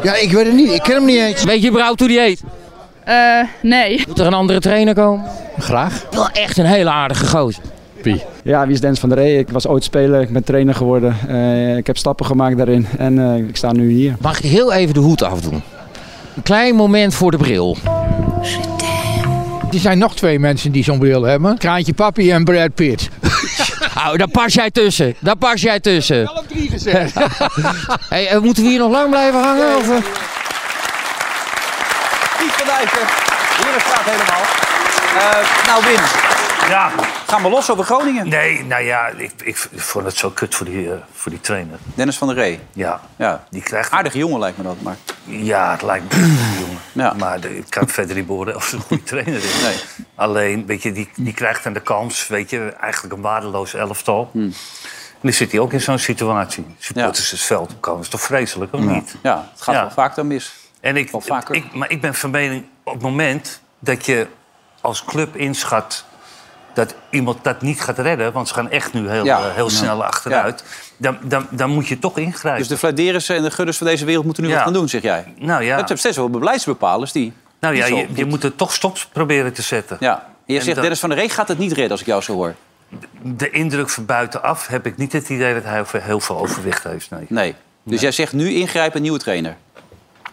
[SPEAKER 18] Ja, ik weet het niet. Ik ken hem niet eens.
[SPEAKER 13] Weet je überhaupt hoe die heet?
[SPEAKER 19] Eh, nee.
[SPEAKER 13] Moet er een andere trainer komen?
[SPEAKER 17] Graag.
[SPEAKER 13] Wel echt een hele aardige gozer.
[SPEAKER 17] Ja, wie is Dennis van der Ree? Ik was ooit speler, ik ben trainer geworden. Eh, ik heb stappen gemaakt daarin en eh, ik sta nu hier.
[SPEAKER 13] Mag ik heel even de hoed afdoen? Een klein moment voor de bril.
[SPEAKER 16] Er zijn nog twee mensen die zo'n bril hebben. Kraantje Papi en Brad Pitt.
[SPEAKER 13] <laughs> Nou, daar pas jij tussen. Daar pas jij tussen.
[SPEAKER 16] Drie gezegd.
[SPEAKER 13] <laughs> Hey, eh, moeten we hier nog lang blijven hangen? Of, eh?
[SPEAKER 2] Piet van Dijken, hier staat helemaal. Eh, nou, Wim.
[SPEAKER 4] Ja.
[SPEAKER 2] Gaan we los over Groningen?
[SPEAKER 4] Nee, nou ja, ik, ik vond het zo kut voor die, eh, voor die trainer.
[SPEAKER 2] Dennis van der Ree.
[SPEAKER 4] Ja.
[SPEAKER 2] ja.
[SPEAKER 4] Die krijgt...
[SPEAKER 2] Aardige jongen lijkt me dat, maar...
[SPEAKER 4] Ja, het lijkt me een <clears throat> jongen. Maar de- ik kan verder niet beoordelen of het een goede trainer is. Alleen, weet je, die, die krijgt dan de kans, weet je, eigenlijk een waardeloos elftal.
[SPEAKER 2] Hmm.
[SPEAKER 4] En dan zit hij ook in zo'n situatie. Supporters het veld opkomen, is toch vreselijk, of niet?
[SPEAKER 2] Ja, het gaat wel vaak dan mis.
[SPEAKER 4] En ik, ik, maar ik ben van mening, op het moment dat je als club inschat dat iemand dat niet gaat redden, want ze gaan echt nu heel,
[SPEAKER 2] Ja.
[SPEAKER 4] eh, heel
[SPEAKER 2] Ja.
[SPEAKER 4] snel achteruit, dan, dan, dan moet je toch ingrijpen.
[SPEAKER 2] Dus de Vladerissen en de Gudders van deze wereld moeten nu
[SPEAKER 4] Ja.
[SPEAKER 2] wat gaan doen, zeg jij?
[SPEAKER 4] Nou ja.
[SPEAKER 2] Het zijn steeds wel beleidsbepalers die...
[SPEAKER 4] nou
[SPEAKER 2] die
[SPEAKER 4] ja,
[SPEAKER 2] zo-
[SPEAKER 4] je, je moet er toch stops proberen te zetten.
[SPEAKER 2] Ja. En je
[SPEAKER 4] En
[SPEAKER 2] zegt,
[SPEAKER 4] dat-
[SPEAKER 2] Dennis van der Ree gaat het niet redden als ik jou zo hoor.
[SPEAKER 4] De indruk van buitenaf heb ik niet het idee dat hij over- heel veel overwicht heeft. Nee.
[SPEAKER 2] Nee. Dus jij zegt nu ingrijpen, nieuwe trainer. <clears throat>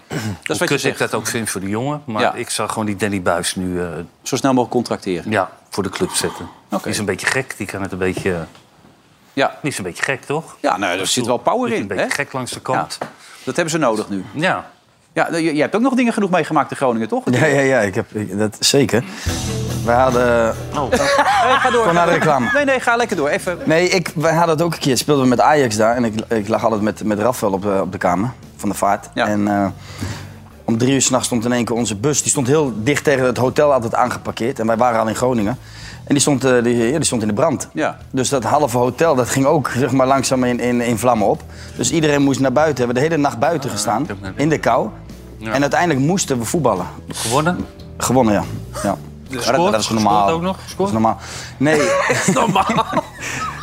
[SPEAKER 2] Dat is wat je
[SPEAKER 4] Kut ik
[SPEAKER 2] zegt.
[SPEAKER 4] dat ook vind voor de jongen. Maar
[SPEAKER 2] Ja.
[SPEAKER 4] ik zou gewoon die Danny Buis nu... eh,
[SPEAKER 2] Zo snel mogelijk contracteren?
[SPEAKER 4] Ja, voor de club zetten. Die is een beetje gek. Die kan het een beetje... eh,
[SPEAKER 2] Ja.
[SPEAKER 4] Die is een beetje gek, toch?
[SPEAKER 2] Ja, nou, er zit wel power in. Een beetje
[SPEAKER 4] gek langs de kant.
[SPEAKER 2] Dat hebben ze nodig nu.
[SPEAKER 4] Ja.
[SPEAKER 2] ja nou, je, je hebt ook nog dingen genoeg meegemaakt in Groningen, <laughs> toch?
[SPEAKER 3] Ja, ja, ja. Ik heb, ik- dat zeker. We hadden...
[SPEAKER 4] Oh.
[SPEAKER 2] Nee, ga door.
[SPEAKER 3] Gewoon naar de reclame.
[SPEAKER 2] Nee, nee, ga lekker door. Even.
[SPEAKER 3] Nee, ik, we hadden het ook een keer. Speelden we met Ajax daar. En ik, ik lag altijd met, met Rafael op, eh, op de kamer van de vaart. En eh, om drie uur s'nachts stond in één keer onze bus. Die stond heel dicht tegen het hotel altijd aangeparkeerd. En wij waren al in Groningen. En die stond, eh, die, ja, die stond in de brand.
[SPEAKER 2] Ja.
[SPEAKER 3] Dus dat halve hotel dat ging ook zeg maar, langzaam in, in, in vlammen op. Dus iedereen moest naar buiten. We hebben de hele nacht buiten gestaan. In de kou. En uiteindelijk moesten we voetballen.
[SPEAKER 4] Gewonnen?
[SPEAKER 3] Gewonnen, ja. ja. Maar dat, dat is normaal.
[SPEAKER 4] Gescoord ook nog?
[SPEAKER 3] Dat is normaal.
[SPEAKER 4] <laughs>
[SPEAKER 3] Nee.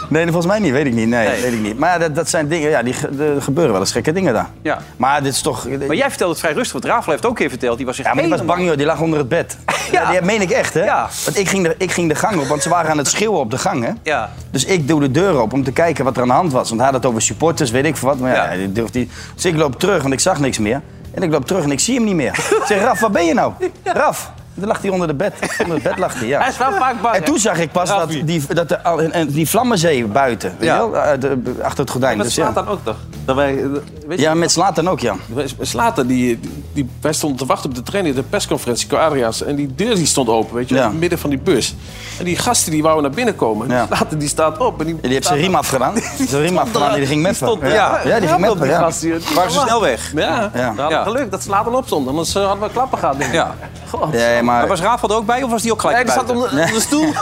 [SPEAKER 3] Nee, volgens mij niet. Weet ik niet. Nee, Weet ik niet. Maar ja, dat, dat zijn dingen, ja, die ge- de- er gebeuren wel eens gekke dingen daar.
[SPEAKER 2] Ja.
[SPEAKER 3] Maar dit is toch...
[SPEAKER 2] Maar jij vertelt het vrij rustig, want Rafael heeft ook een keer verteld. Die was echt
[SPEAKER 3] Ja, maar die was bang, joh. Die lag onder het bed.
[SPEAKER 2] <laughs>
[SPEAKER 3] Ja. die meen ik echt, hè?
[SPEAKER 2] Ja.
[SPEAKER 3] Want ik ging, de, ik ging de gang op, want ze waren aan het schreeuwen op de gang, hè?
[SPEAKER 2] Ja.
[SPEAKER 3] Dus ik doe de deur open om te kijken wat er aan de hand was. Want hij had het over supporters, weet ik veel wat. Maar ja, die durft niet. Dus ik loop terug, want ik zag niks meer. En ik loop terug en ik zie hem niet meer. Ik zeg, Raf, waar ben je
[SPEAKER 2] <laughs>
[SPEAKER 3] nou? Raf. En dan lag hij onder de bed. Onder het bed lag hij, ja.
[SPEAKER 2] Hij is wel vaak bang,
[SPEAKER 3] En toen
[SPEAKER 2] hè?
[SPEAKER 3] zag ik pas dat die, dat de, al- en- en die vlammenzee buiten, weet
[SPEAKER 2] Ja.
[SPEAKER 3] je wel, eh, de- achter het gordijn.
[SPEAKER 20] Met
[SPEAKER 3] Dus ja.
[SPEAKER 20] Slatan ook toch? Dat
[SPEAKER 5] eh,
[SPEAKER 20] wij, weet
[SPEAKER 3] ja, met Slatan ook, ja.
[SPEAKER 5] Slater, die, die, wij stonden te wachten op de training, de persconferentie, Quadria's. En die deur die stond open, weet je, in het midden van die bus. En die gasten die wouden naar binnen komen. En die Slater die staat op. En die,
[SPEAKER 3] Die heeft zijn riem
[SPEAKER 5] <laughs>
[SPEAKER 3] afgedaan. Zijn riem afgedaan, die ging met
[SPEAKER 5] Die stond-
[SPEAKER 3] me.
[SPEAKER 5] ja.
[SPEAKER 3] ja, die ging met me,
[SPEAKER 5] Die
[SPEAKER 3] ja.
[SPEAKER 5] gast die- die-
[SPEAKER 2] Waren ze snel weg?
[SPEAKER 5] Ja,
[SPEAKER 3] Ja.
[SPEAKER 5] we hadden geluk dat Slater op stond. Anders eh, hadden we klappen gehad, denk ik.
[SPEAKER 2] Ja.
[SPEAKER 5] God.
[SPEAKER 3] Nee, maar-
[SPEAKER 2] Maar was Rafael er ook bij of was die ook gelijk
[SPEAKER 5] Nee, die zat
[SPEAKER 2] buiten?
[SPEAKER 5] onder de, onder de stoel.
[SPEAKER 3] <laughs>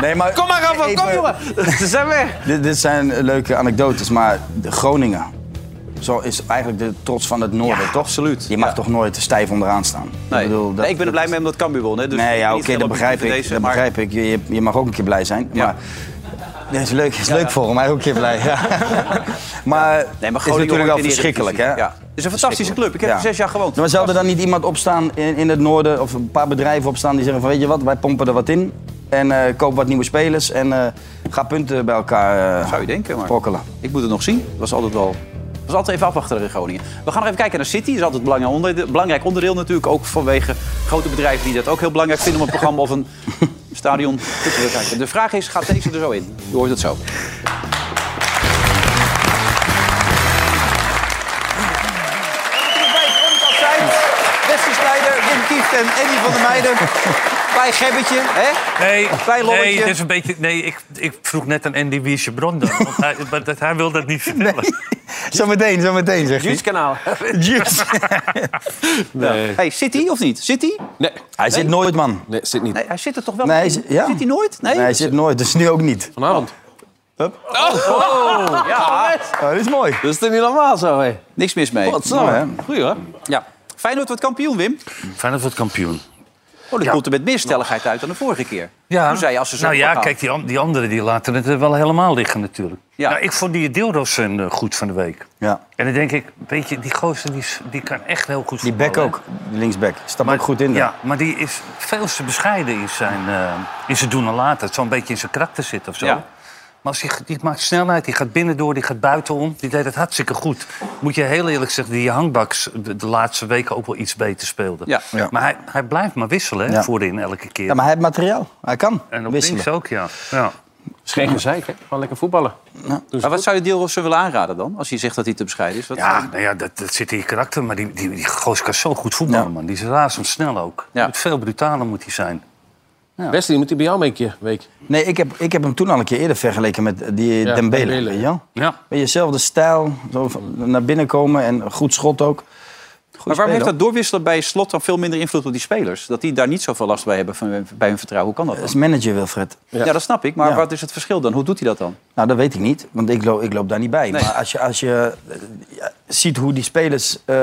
[SPEAKER 3] Nee, maar
[SPEAKER 5] Kom maar, Rafa,
[SPEAKER 2] Oh,
[SPEAKER 5] kom jongen. Ze zijn weg.
[SPEAKER 3] <laughs> Dit, dit zijn leuke anekdotes, maar de Groningen. Zo is eigenlijk de trots van het noorden, toch? Absoluut. Je mag toch nooit stijf onderaan staan.
[SPEAKER 2] Nee.
[SPEAKER 3] Ik bedoel, dat-
[SPEAKER 2] Nee, ik ben er blij mee omdat Cambuur won. Hè? Dus
[SPEAKER 3] nee, ja,
[SPEAKER 2] niet
[SPEAKER 3] oké,
[SPEAKER 2] helemaal
[SPEAKER 3] dat begrijp
[SPEAKER 2] kritisch
[SPEAKER 3] ik.
[SPEAKER 2] in deze,
[SPEAKER 3] dat
[SPEAKER 2] maar-
[SPEAKER 3] begrijp ik. Je, je, je mag ook een keer blij zijn. Maar dat is leuk, is leuk voor hem. Hij is ook een keer
[SPEAKER 2] <laughs>
[SPEAKER 3] blij. Ja. maar
[SPEAKER 2] Nee, maar
[SPEAKER 3] het is
[SPEAKER 2] Groningen
[SPEAKER 3] natuurlijk wel
[SPEAKER 2] hoort in de
[SPEAKER 3] verschrikkelijk, hè?
[SPEAKER 2] Eredivisie. Ja. Het is een fantastische club. Ik heb er zes jaar gewoond.
[SPEAKER 3] Maar zou er dan niet iemand opstaan in, in het noorden of een paar bedrijven opstaan die zeggen van weet je wat, wij pompen er wat in en eh, koop wat nieuwe spelers en eh, ga punten bij elkaar eh
[SPEAKER 2] Zou je denken, maar
[SPEAKER 3] brokkelen.
[SPEAKER 2] ik moet het nog zien. Dat was altijd wel... Dat was altijd even afwachten in Groningen. We gaan nog even kijken naar City. Dat is altijd een belangrijk onderdeel, belangrijk onderdeel natuurlijk. Ook vanwege grote bedrijven die dat ook heel belangrijk vinden... om een programma of een stadion goed te bekijken. De vraag is, gaat deze er zo in? Je hoort het zo.
[SPEAKER 12] <laughs>
[SPEAKER 2] Wesley Snijder, Wim Kieft en Eddie van der Meijden. Bij Gebbetje, hè?
[SPEAKER 4] Nee,
[SPEAKER 2] Klein lolletje.
[SPEAKER 4] nee, dit is een beetje, nee ik, ik vroeg net aan Andy wie is je bron dan? Want hij, <laughs> maar dat, hij wil dat niet vertellen.
[SPEAKER 2] Zometeen, zometeen zeg
[SPEAKER 4] Juice
[SPEAKER 2] kanaal. Juice. <laughs>
[SPEAKER 4] Nee.
[SPEAKER 2] Nou, Hey, zit hij of niet? Zit hij?
[SPEAKER 5] Nee.
[SPEAKER 3] Hij zit nooit, man.
[SPEAKER 5] Nee, zit niet.
[SPEAKER 2] Nee, hij zit er toch wel
[SPEAKER 3] Nee,
[SPEAKER 2] in?
[SPEAKER 3] hij zit- ja.
[SPEAKER 2] Zit hij nooit? Nee?
[SPEAKER 3] Nee, hij zit nooit, dus nu ook niet.
[SPEAKER 5] Vanavond.
[SPEAKER 2] Oh, ja.
[SPEAKER 3] dat is mooi.
[SPEAKER 2] Dat is toch niet normaal zo, hè? Niks mis mee.
[SPEAKER 4] Wat snel, hè?
[SPEAKER 2] Goeie, hoor. Ja. Feyenoord wordt kampioen, Wim.
[SPEAKER 4] Feyenoord wordt kampioen.
[SPEAKER 2] Oh, dat komt er met meer stelligheid uit dan de vorige keer.
[SPEAKER 4] Ja.
[SPEAKER 2] Toen zei je als ze zo
[SPEAKER 4] nou ja,
[SPEAKER 2] doorgaan.
[SPEAKER 4] kijk, die, an- die anderen die laten het er wel helemaal liggen natuurlijk. Nou, ik vond die Deelrosen goed van de week.
[SPEAKER 3] Ja.
[SPEAKER 4] En dan denk ik, weet je, die gozer die, is- die kan echt heel goed
[SPEAKER 3] Die back ook, die linksback. Stapt ook goed in. daar.
[SPEAKER 4] Ja, maar die is veel te bescheiden in zijn, eh, in zijn doen en laten. Het zal een beetje in zijn karakter zitten of zo. Maar als die, die maakt snelheid, die gaat binnendoor, die gaat buitenom. Die deed het hartstikke goed. Moet je heel eerlijk zeggen, die Hangbaks de, de laatste weken ook wel iets beter speelde.
[SPEAKER 3] Ja. Ja.
[SPEAKER 4] Maar hij, hij blijft maar wisselen hè,
[SPEAKER 3] Ja.
[SPEAKER 4] voorin elke keer.
[SPEAKER 3] Ja, maar hij heeft materiaal. Hij kan
[SPEAKER 4] en op
[SPEAKER 3] wisselen.
[SPEAKER 4] links ook, ja. ja.
[SPEAKER 5] Is geen gezeik, hè? Gewoon lekker voetballen.
[SPEAKER 2] Maar wat zou je Deelrosse willen aanraden dan? Als je zegt dat hij te bescheiden is. Wat
[SPEAKER 4] Ja, nou ja, dat, dat zit in je karakter. Maar die, die, die gozer kan zo goed voetballen, man. Die is razendsnel ook. Moet Veel brutaler moet hij zijn.
[SPEAKER 5] Ja. Wesley, moet hij bij jou mee een keer, week?
[SPEAKER 3] Nee, ik heb, ik heb hem toen al een keer eerder vergeleken met eh, die
[SPEAKER 5] Ja,
[SPEAKER 3] Dembele.
[SPEAKER 5] Dembele.
[SPEAKER 3] Weet je wel?
[SPEAKER 4] Ja.
[SPEAKER 3] Weet je, zelfde stijl, zo van naar binnen komen en een goed schot ook.
[SPEAKER 2] maar waarom heeft dat doorwisselen bij slot dan veel minder invloed op die spelers? Dat die daar niet zoveel last bij hebben van, bij hun vertrouwen. Hoe kan dat
[SPEAKER 3] Dat is
[SPEAKER 2] dan?
[SPEAKER 3] manager, Wilfred.
[SPEAKER 2] Ja, dat snap ik. Maar
[SPEAKER 3] Ja.
[SPEAKER 2] wat is het verschil dan? Hoe doet hij dat dan?
[SPEAKER 3] Nou, dat weet ik niet, want ik loop, ik loop daar niet bij.
[SPEAKER 2] Nee.
[SPEAKER 3] Maar als je, als je eh, ja, ziet hoe die spelers, eh,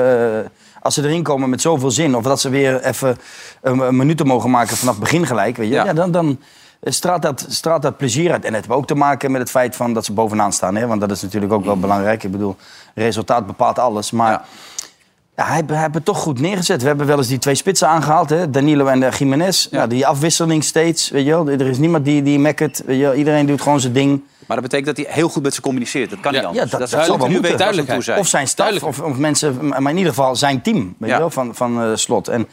[SPEAKER 3] als ze erin komen met zoveel zin... of dat ze weer even een, een minuten mogen maken vanaf begin gelijk... Weet je, ja. dan, dan straalt, dat, straalt dat plezier uit. En het heeft ook te maken met het feit van dat ze bovenaan staan. Hè? Want dat is natuurlijk ook wel belangrijk. Ik bedoel, resultaat bepaalt alles, maar... Ja, hij, hij heeft het toch goed neergezet. We hebben wel eens die twee spitsen aangehaald, hè? Danilo en eh, Jiménez. Nou, die afwisseling steeds, weet je wel. Er is niemand die, die mekkert, weet je wel. Iedereen doet gewoon zijn ding.
[SPEAKER 2] Maar dat betekent dat hij heel goed met ze communiceert. Dat kan niet anders.
[SPEAKER 3] Ja, dat,
[SPEAKER 2] is
[SPEAKER 3] dat zal wel
[SPEAKER 2] nu
[SPEAKER 3] moeten.
[SPEAKER 2] weten waar ze aan toe zijn.
[SPEAKER 3] Of zijn staf, of, of mensen, maar in ieder geval zijn team weet je wel, van, van eh, Slot. En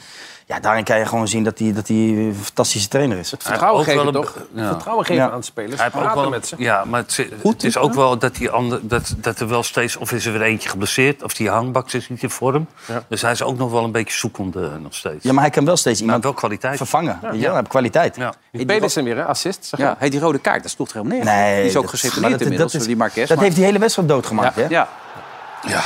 [SPEAKER 3] ja, daarin kan je gewoon zien dat hij dat hij een fantastische trainer is. Het
[SPEAKER 4] Hij
[SPEAKER 5] Vertrouwen
[SPEAKER 4] heeft ook
[SPEAKER 5] geven,
[SPEAKER 4] wel
[SPEAKER 5] toch?
[SPEAKER 4] een be- ja.
[SPEAKER 5] Vertrouwen geven
[SPEAKER 3] Ja.
[SPEAKER 5] aan de spelers.
[SPEAKER 4] Hij heeft ook
[SPEAKER 5] Praten
[SPEAKER 4] wel,
[SPEAKER 5] met ze.
[SPEAKER 4] Ja, maar het, het is ook wel dat, die ander, dat, dat er wel steeds... of is er weer eentje geblesseerd, of die hangbaks is niet in vorm. Dus hij is ook nog wel een beetje zoekende eh, nog steeds.
[SPEAKER 3] Ja, maar hij kan wel steeds iemand
[SPEAKER 4] wel kwaliteit.
[SPEAKER 3] vervangen. weet je wel. Hij heeft kwaliteit.
[SPEAKER 5] Die Pedersen weer, hè? Assist. zag
[SPEAKER 2] Ja,
[SPEAKER 5] ik.
[SPEAKER 2] hey, die rode kaart, dat sloeg er helemaal neer.
[SPEAKER 3] Nee,
[SPEAKER 2] die is ook
[SPEAKER 3] dat-
[SPEAKER 2] geseponeerd
[SPEAKER 3] maar dat-
[SPEAKER 2] inmiddels,
[SPEAKER 3] dat is-
[SPEAKER 2] door die Marquez.
[SPEAKER 3] Dat
[SPEAKER 2] maar-
[SPEAKER 3] heeft die hele wedstrijd doodgemaakt, hè?
[SPEAKER 2] Ja.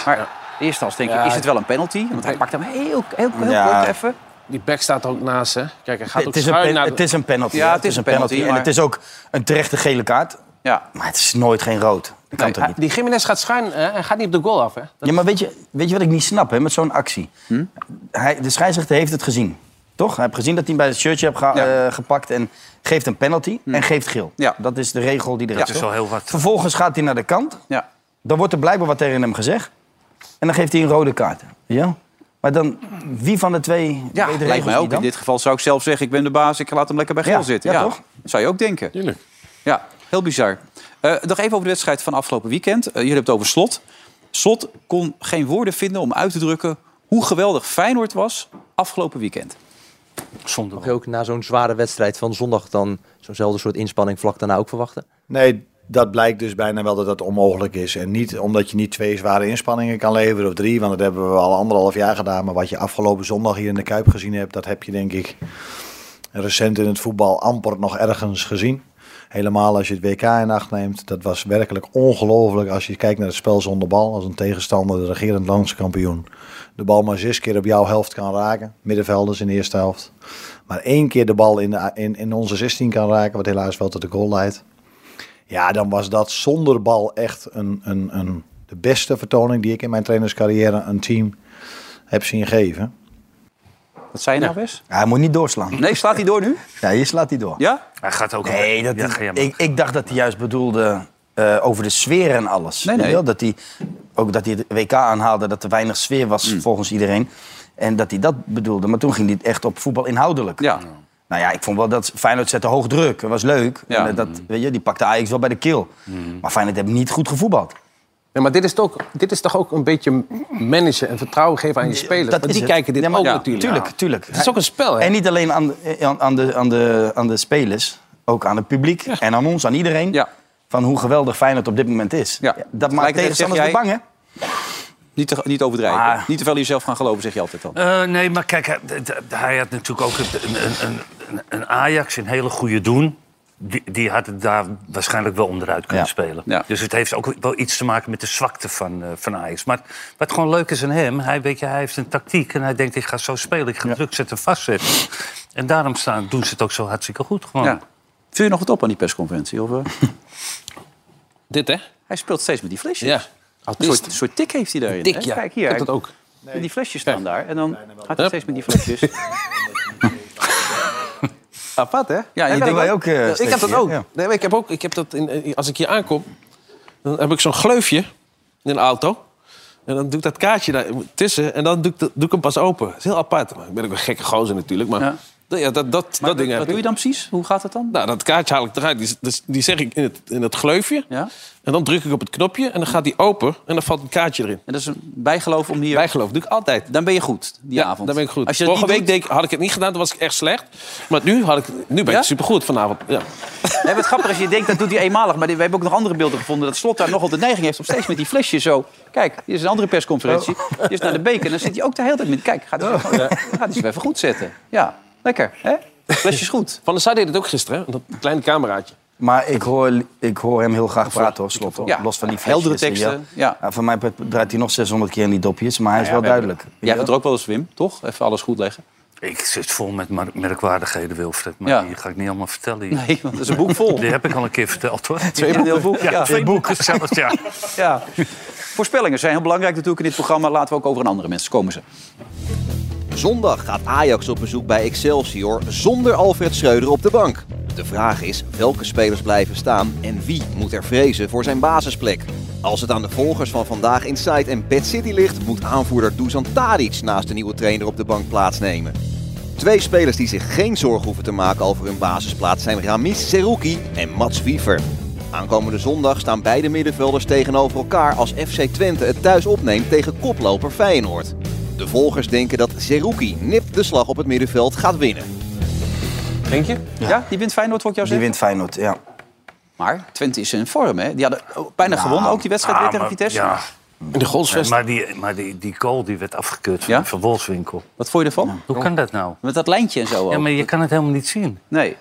[SPEAKER 2] Maar eerst als denk ik, is het wel een penalty? Want hij pakt hem heel, heel, heel
[SPEAKER 3] Ja.
[SPEAKER 2] kort even.
[SPEAKER 5] Die back staat er ook naast, hè? Kijk, hij gaat ook
[SPEAKER 3] Het is, een
[SPEAKER 5] schuin
[SPEAKER 3] pen-
[SPEAKER 5] naar... de-
[SPEAKER 3] het is een penalty.
[SPEAKER 5] Ja,
[SPEAKER 3] hè.
[SPEAKER 5] het is een penalty,
[SPEAKER 3] En
[SPEAKER 5] maar-
[SPEAKER 3] het is ook een terechte gele kaart.
[SPEAKER 2] Ja.
[SPEAKER 3] Maar het is nooit geen rood. Dat kan
[SPEAKER 5] Nee,
[SPEAKER 3] toch
[SPEAKER 5] hij-
[SPEAKER 3] niet?
[SPEAKER 5] Die Jiménez gaat schuin hè, en gaat niet op de goal af, hè?
[SPEAKER 3] Ja, maar weet je, weet je wat ik niet snap hè, met zo'n actie?
[SPEAKER 2] Hm?
[SPEAKER 3] Hij, de scheidsrechter heeft het gezien. Toch? Hij heeft gezien dat hij hem bij het shirtje heeft geha- eh, gepakt en geeft een penalty
[SPEAKER 2] Hm.
[SPEAKER 3] en geeft geel. Dat is de regel die er
[SPEAKER 4] Dat
[SPEAKER 3] is.
[SPEAKER 4] is
[SPEAKER 3] toch?
[SPEAKER 4] al heel wat.
[SPEAKER 3] Vervolgens gaat hij naar de kant.
[SPEAKER 2] Ja.
[SPEAKER 3] Dan wordt er blijkbaar wat tegen hem gezegd. En dan geeft hij een rode kaart. Ja? Maar dan, wie van de twee
[SPEAKER 2] Ja,
[SPEAKER 3] weet de
[SPEAKER 2] lijkt
[SPEAKER 3] regels
[SPEAKER 2] mij
[SPEAKER 3] niet
[SPEAKER 2] ook. In
[SPEAKER 3] dan?
[SPEAKER 2] dit geval zou ik zelf zeggen, ik ben de baas, ik laat hem lekker bij geel
[SPEAKER 3] Ja,
[SPEAKER 2] zitten.
[SPEAKER 3] ja, toch?
[SPEAKER 2] Dat zou je ook denken. Ja, heel bizar. Eh, nog even over de wedstrijd van afgelopen weekend. Eh, jullie hebben het over Slot. Slot kon geen woorden vinden om uit te drukken hoe geweldig Feyenoord was afgelopen weekend.
[SPEAKER 4] Zondag.
[SPEAKER 3] Oh.
[SPEAKER 21] Mag je ook na zo'n zware wedstrijd van zondag dan zo'nzelfde soort inspanning vlak daarna ook verwachten?
[SPEAKER 22] Nee, dat blijkt dus bijna wel dat dat onmogelijk is. En niet omdat je niet twee zware inspanningen kan leveren of drie, want dat hebben we al anderhalf jaar gedaan. Maar wat je afgelopen zondag hier in de Kuip gezien hebt, dat heb je denk ik recent in het voetbal amper nog ergens gezien. Helemaal als je het WK in acht neemt. Dat was werkelijk ongelooflijk als je kijkt naar het spel zonder bal. Als een tegenstander, de regerend landskampioen, de bal maar zes keer op jouw helft kan raken. Middenvelders in de eerste helft. Maar één keer de bal in, de, in, in onze 16 kan raken, wat helaas wel tot de goal leidt. Ja, dan was dat zonder bal echt een, een, een, de beste vertoning die ik in mijn trainerscarrière een team heb zien geven.
[SPEAKER 2] Wat zei je nou, Wes?
[SPEAKER 3] hij moet niet doorslaan.
[SPEAKER 2] Nee, slaat hij door nu?
[SPEAKER 3] Ja, hier slaat hij door.
[SPEAKER 2] Ja?
[SPEAKER 4] Hij gaat ook...
[SPEAKER 3] Nee, dat ik, ik dacht dat hij juist bedoelde eh, over de sfeer en alles.
[SPEAKER 2] Nee,
[SPEAKER 3] Weet je
[SPEAKER 2] nee.
[SPEAKER 3] wel? Dat hij, ook dat hij het WK aanhaalde, dat er weinig sfeer was volgens iedereen. En dat hij dat bedoelde. Maar toen ging hij echt op voetbal inhoudelijk.
[SPEAKER 2] Ja.
[SPEAKER 3] Nou ja, ik vond wel dat Feyenoord zette hoog druk. Dat was leuk. En dat, weet je, die pakte Ajax wel bij de keel.
[SPEAKER 5] Mm.
[SPEAKER 3] Maar Feyenoord heeft niet goed gevoetbald.
[SPEAKER 5] Nee, maar dit is, toch, dit is toch ook een beetje managen en vertrouwen geven aan je spelers.
[SPEAKER 3] dat
[SPEAKER 5] Want
[SPEAKER 3] is
[SPEAKER 5] die
[SPEAKER 3] het.
[SPEAKER 5] kijken dit
[SPEAKER 3] Ja, maar-
[SPEAKER 5] ook
[SPEAKER 3] ja,
[SPEAKER 5] natuurlijk.
[SPEAKER 3] tuurlijk,
[SPEAKER 5] Ja.
[SPEAKER 3] tuurlijk.
[SPEAKER 5] Het is ook een spel, hè?
[SPEAKER 3] En niet alleen aan, de- aan, aan, de, aan, de, aan de spelers, ook aan het publiek en aan ons, aan iedereen. Van hoe geweldig Feyenoord op dit moment is. Ja, dat maakt
[SPEAKER 2] Tegelijkertijd zeg
[SPEAKER 3] tegenstanders
[SPEAKER 2] jij-
[SPEAKER 3] bang, hè?
[SPEAKER 2] Niet, te, niet overdrijven.
[SPEAKER 3] Ah.
[SPEAKER 2] Niet te veel in jezelf gaan geloven, zeg je altijd dan.
[SPEAKER 4] Eh, nee, maar kijk, hij, d- d- hij had natuurlijk ook een, een, een- een, een Ajax, een hele goede doen. Die, die had het daar waarschijnlijk wel onderuit kunnen
[SPEAKER 2] Ja.
[SPEAKER 4] spelen. Dus het heeft ook wel iets te maken met de zwakte van, eh, van Ajax. Maar wat gewoon leuk is aan hem, hij, weet je, hij heeft een tactiek en hij denkt: ik ga zo spelen, ik ga druk zetten, vastzetten. En daarom staan, doen ze het ook zo hartstikke goed. Gewoon.
[SPEAKER 5] Oh.
[SPEAKER 2] Ja. Vul je nog wat op aan die persconferentie? Of, eh?
[SPEAKER 5] <laughs> Dit, hè?
[SPEAKER 2] Hij speelt steeds met die flesjes.
[SPEAKER 5] Ja.
[SPEAKER 2] Een soort, soort tik heeft hij daarin.
[SPEAKER 5] Tik,
[SPEAKER 2] hè?
[SPEAKER 5] ja.
[SPEAKER 2] Kijk
[SPEAKER 5] Ik
[SPEAKER 2] hier.
[SPEAKER 5] heb
[SPEAKER 2] hij-
[SPEAKER 5] dat ook.
[SPEAKER 2] en Die flesjes staan daar. En dan gaat hij steeds met die flesjes.
[SPEAKER 5] <laughs> Apart, hè?
[SPEAKER 2] Ja, je denkt-
[SPEAKER 3] eh,
[SPEAKER 2] Ja, ik
[SPEAKER 5] ik heb dat
[SPEAKER 2] steekje,
[SPEAKER 5] ook.
[SPEAKER 2] ja.
[SPEAKER 5] Nee, maar ik heb ook. Ik heb dat in, eh, als ik hier aankom, dan heb ik zo'n gleufje in een auto. En dan doe ik dat kaartje daar tussen en dan doe ik, dat- doe ik hem pas open. Dat is heel apart. Maar ik ben ook een gekke gozer natuurlijk, maar... Ja. dat, dat, dat ding
[SPEAKER 2] Wat doe je dan precies? Hoe gaat het dan?
[SPEAKER 5] Nou, dat kaartje haal ik eruit. Die, dus die zeg ik in het, in het gleufje. En dan druk ik op het knopje en dan gaat die open en dan valt een kaartje erin.
[SPEAKER 2] En dat is een bijgeloof om hier...
[SPEAKER 5] Bijgeloof, doe ik altijd.
[SPEAKER 2] Dan ben je goed, die avond.
[SPEAKER 5] dan ben ik goed.
[SPEAKER 2] Als
[SPEAKER 5] Als
[SPEAKER 2] je
[SPEAKER 5] je
[SPEAKER 2] dat
[SPEAKER 5] Vorige
[SPEAKER 2] niet
[SPEAKER 5] week deed ik- had ik het niet gedaan, toen was ik echt slecht. Maar nu, had ik, nu ben ik supergoed vanavond. Ja.
[SPEAKER 2] Nee, maar het grappige is, je denkt dat doet hij eenmalig. Maar we hebben ook nog andere beelden gevonden. Dat Slot daar nogal de neiging heeft om steeds met die flesjes zo... Kijk, hier is een andere persconferentie.
[SPEAKER 5] Oh.
[SPEAKER 2] Hier is naar de beker. En dan zit hij ook de hele tijd met... Kijk, gaat hij, gaat hij ze weer even goed zetten. Ja, lekker. Hè? Flesjes goed.
[SPEAKER 5] <laughs> Van der Sar deed het ook gisteren, hè? dat kleine cameraatje.
[SPEAKER 3] Maar ik hoor, ik hoor hem heel graag praten, hoor, slot. hoor.
[SPEAKER 5] Ja,
[SPEAKER 3] Los van die
[SPEAKER 5] heldere
[SPEAKER 3] flesjes, weet je wel.
[SPEAKER 2] teksten, ja.
[SPEAKER 3] Ja, voor mij draait hij nog 600 keer in die dopjes, maar hij is
[SPEAKER 2] Nou Ja,
[SPEAKER 3] wel
[SPEAKER 2] we
[SPEAKER 3] duidelijk.
[SPEAKER 2] hebben- Jij gaat er ook wel eens, Wim, toch? Even alles goed leggen.
[SPEAKER 4] Ik zit vol met mar- merkwaardigheden, Wilfred. Maar
[SPEAKER 2] Ja.
[SPEAKER 4] die ga ik niet allemaal vertellen. hier.
[SPEAKER 2] Nee, want dat is een boek vol.
[SPEAKER 4] <laughs> Die heb ik al een keer verteld,
[SPEAKER 2] <laughs>
[SPEAKER 4] hoor.
[SPEAKER 2] Twee boeken. Een heel boek, ja.
[SPEAKER 4] Ja, twee
[SPEAKER 2] Ja.
[SPEAKER 4] boeken zelfs,
[SPEAKER 2] <laughs>
[SPEAKER 4] ja.
[SPEAKER 2] Ja. Voorspellingen zijn heel belangrijk natuurlijk in dit programma. Laten we ook over een andere mensen komen ze.
[SPEAKER 1] Zondag gaat Ajax op bezoek bij Excelsior zonder Alfred Schreuder op de bank. De vraag is welke spelers blijven staan en wie moet er vrezen voor zijn basisplek. Als het aan de volgers van vandaag Inside en Bad City ligt, moet aanvoerder Dusan Tadic naast de nieuwe trainer op de bank plaatsnemen. Twee spelers die zich geen zorgen hoeven te maken over hun basisplaats zijn Ramis Serouki en Mats Wiever. Aankomende zondag staan beide middenvelders tegenover elkaar als FC Twente het thuis opneemt tegen koploper Feyenoord. De volgers denken dat Zerouki nip de slag op het middenveld gaat winnen.
[SPEAKER 2] Denk je? Ja, die wint Feyenoord, hoor ik jou
[SPEAKER 3] Die
[SPEAKER 2] zeggen.
[SPEAKER 3] wint Feyenoord, ja.
[SPEAKER 2] Maar Twente is in vorm, hè? Die hadden ook bijna gewonnen, ook die wedstrijd weer
[SPEAKER 4] Ah,
[SPEAKER 2] tegen
[SPEAKER 4] maar-
[SPEAKER 2] Vitesse.
[SPEAKER 4] Ja.
[SPEAKER 5] De goalsvest.
[SPEAKER 4] Maar, die, maar die, die goal die werd afgekeurd van, van Wolfswinkel.
[SPEAKER 2] Wat vond je ervan?
[SPEAKER 4] Hoe kan dat nou?
[SPEAKER 2] Met dat lijntje en zo
[SPEAKER 4] Ja,
[SPEAKER 2] ook.
[SPEAKER 4] maar je kan het helemaal niet zien.
[SPEAKER 2] Nee.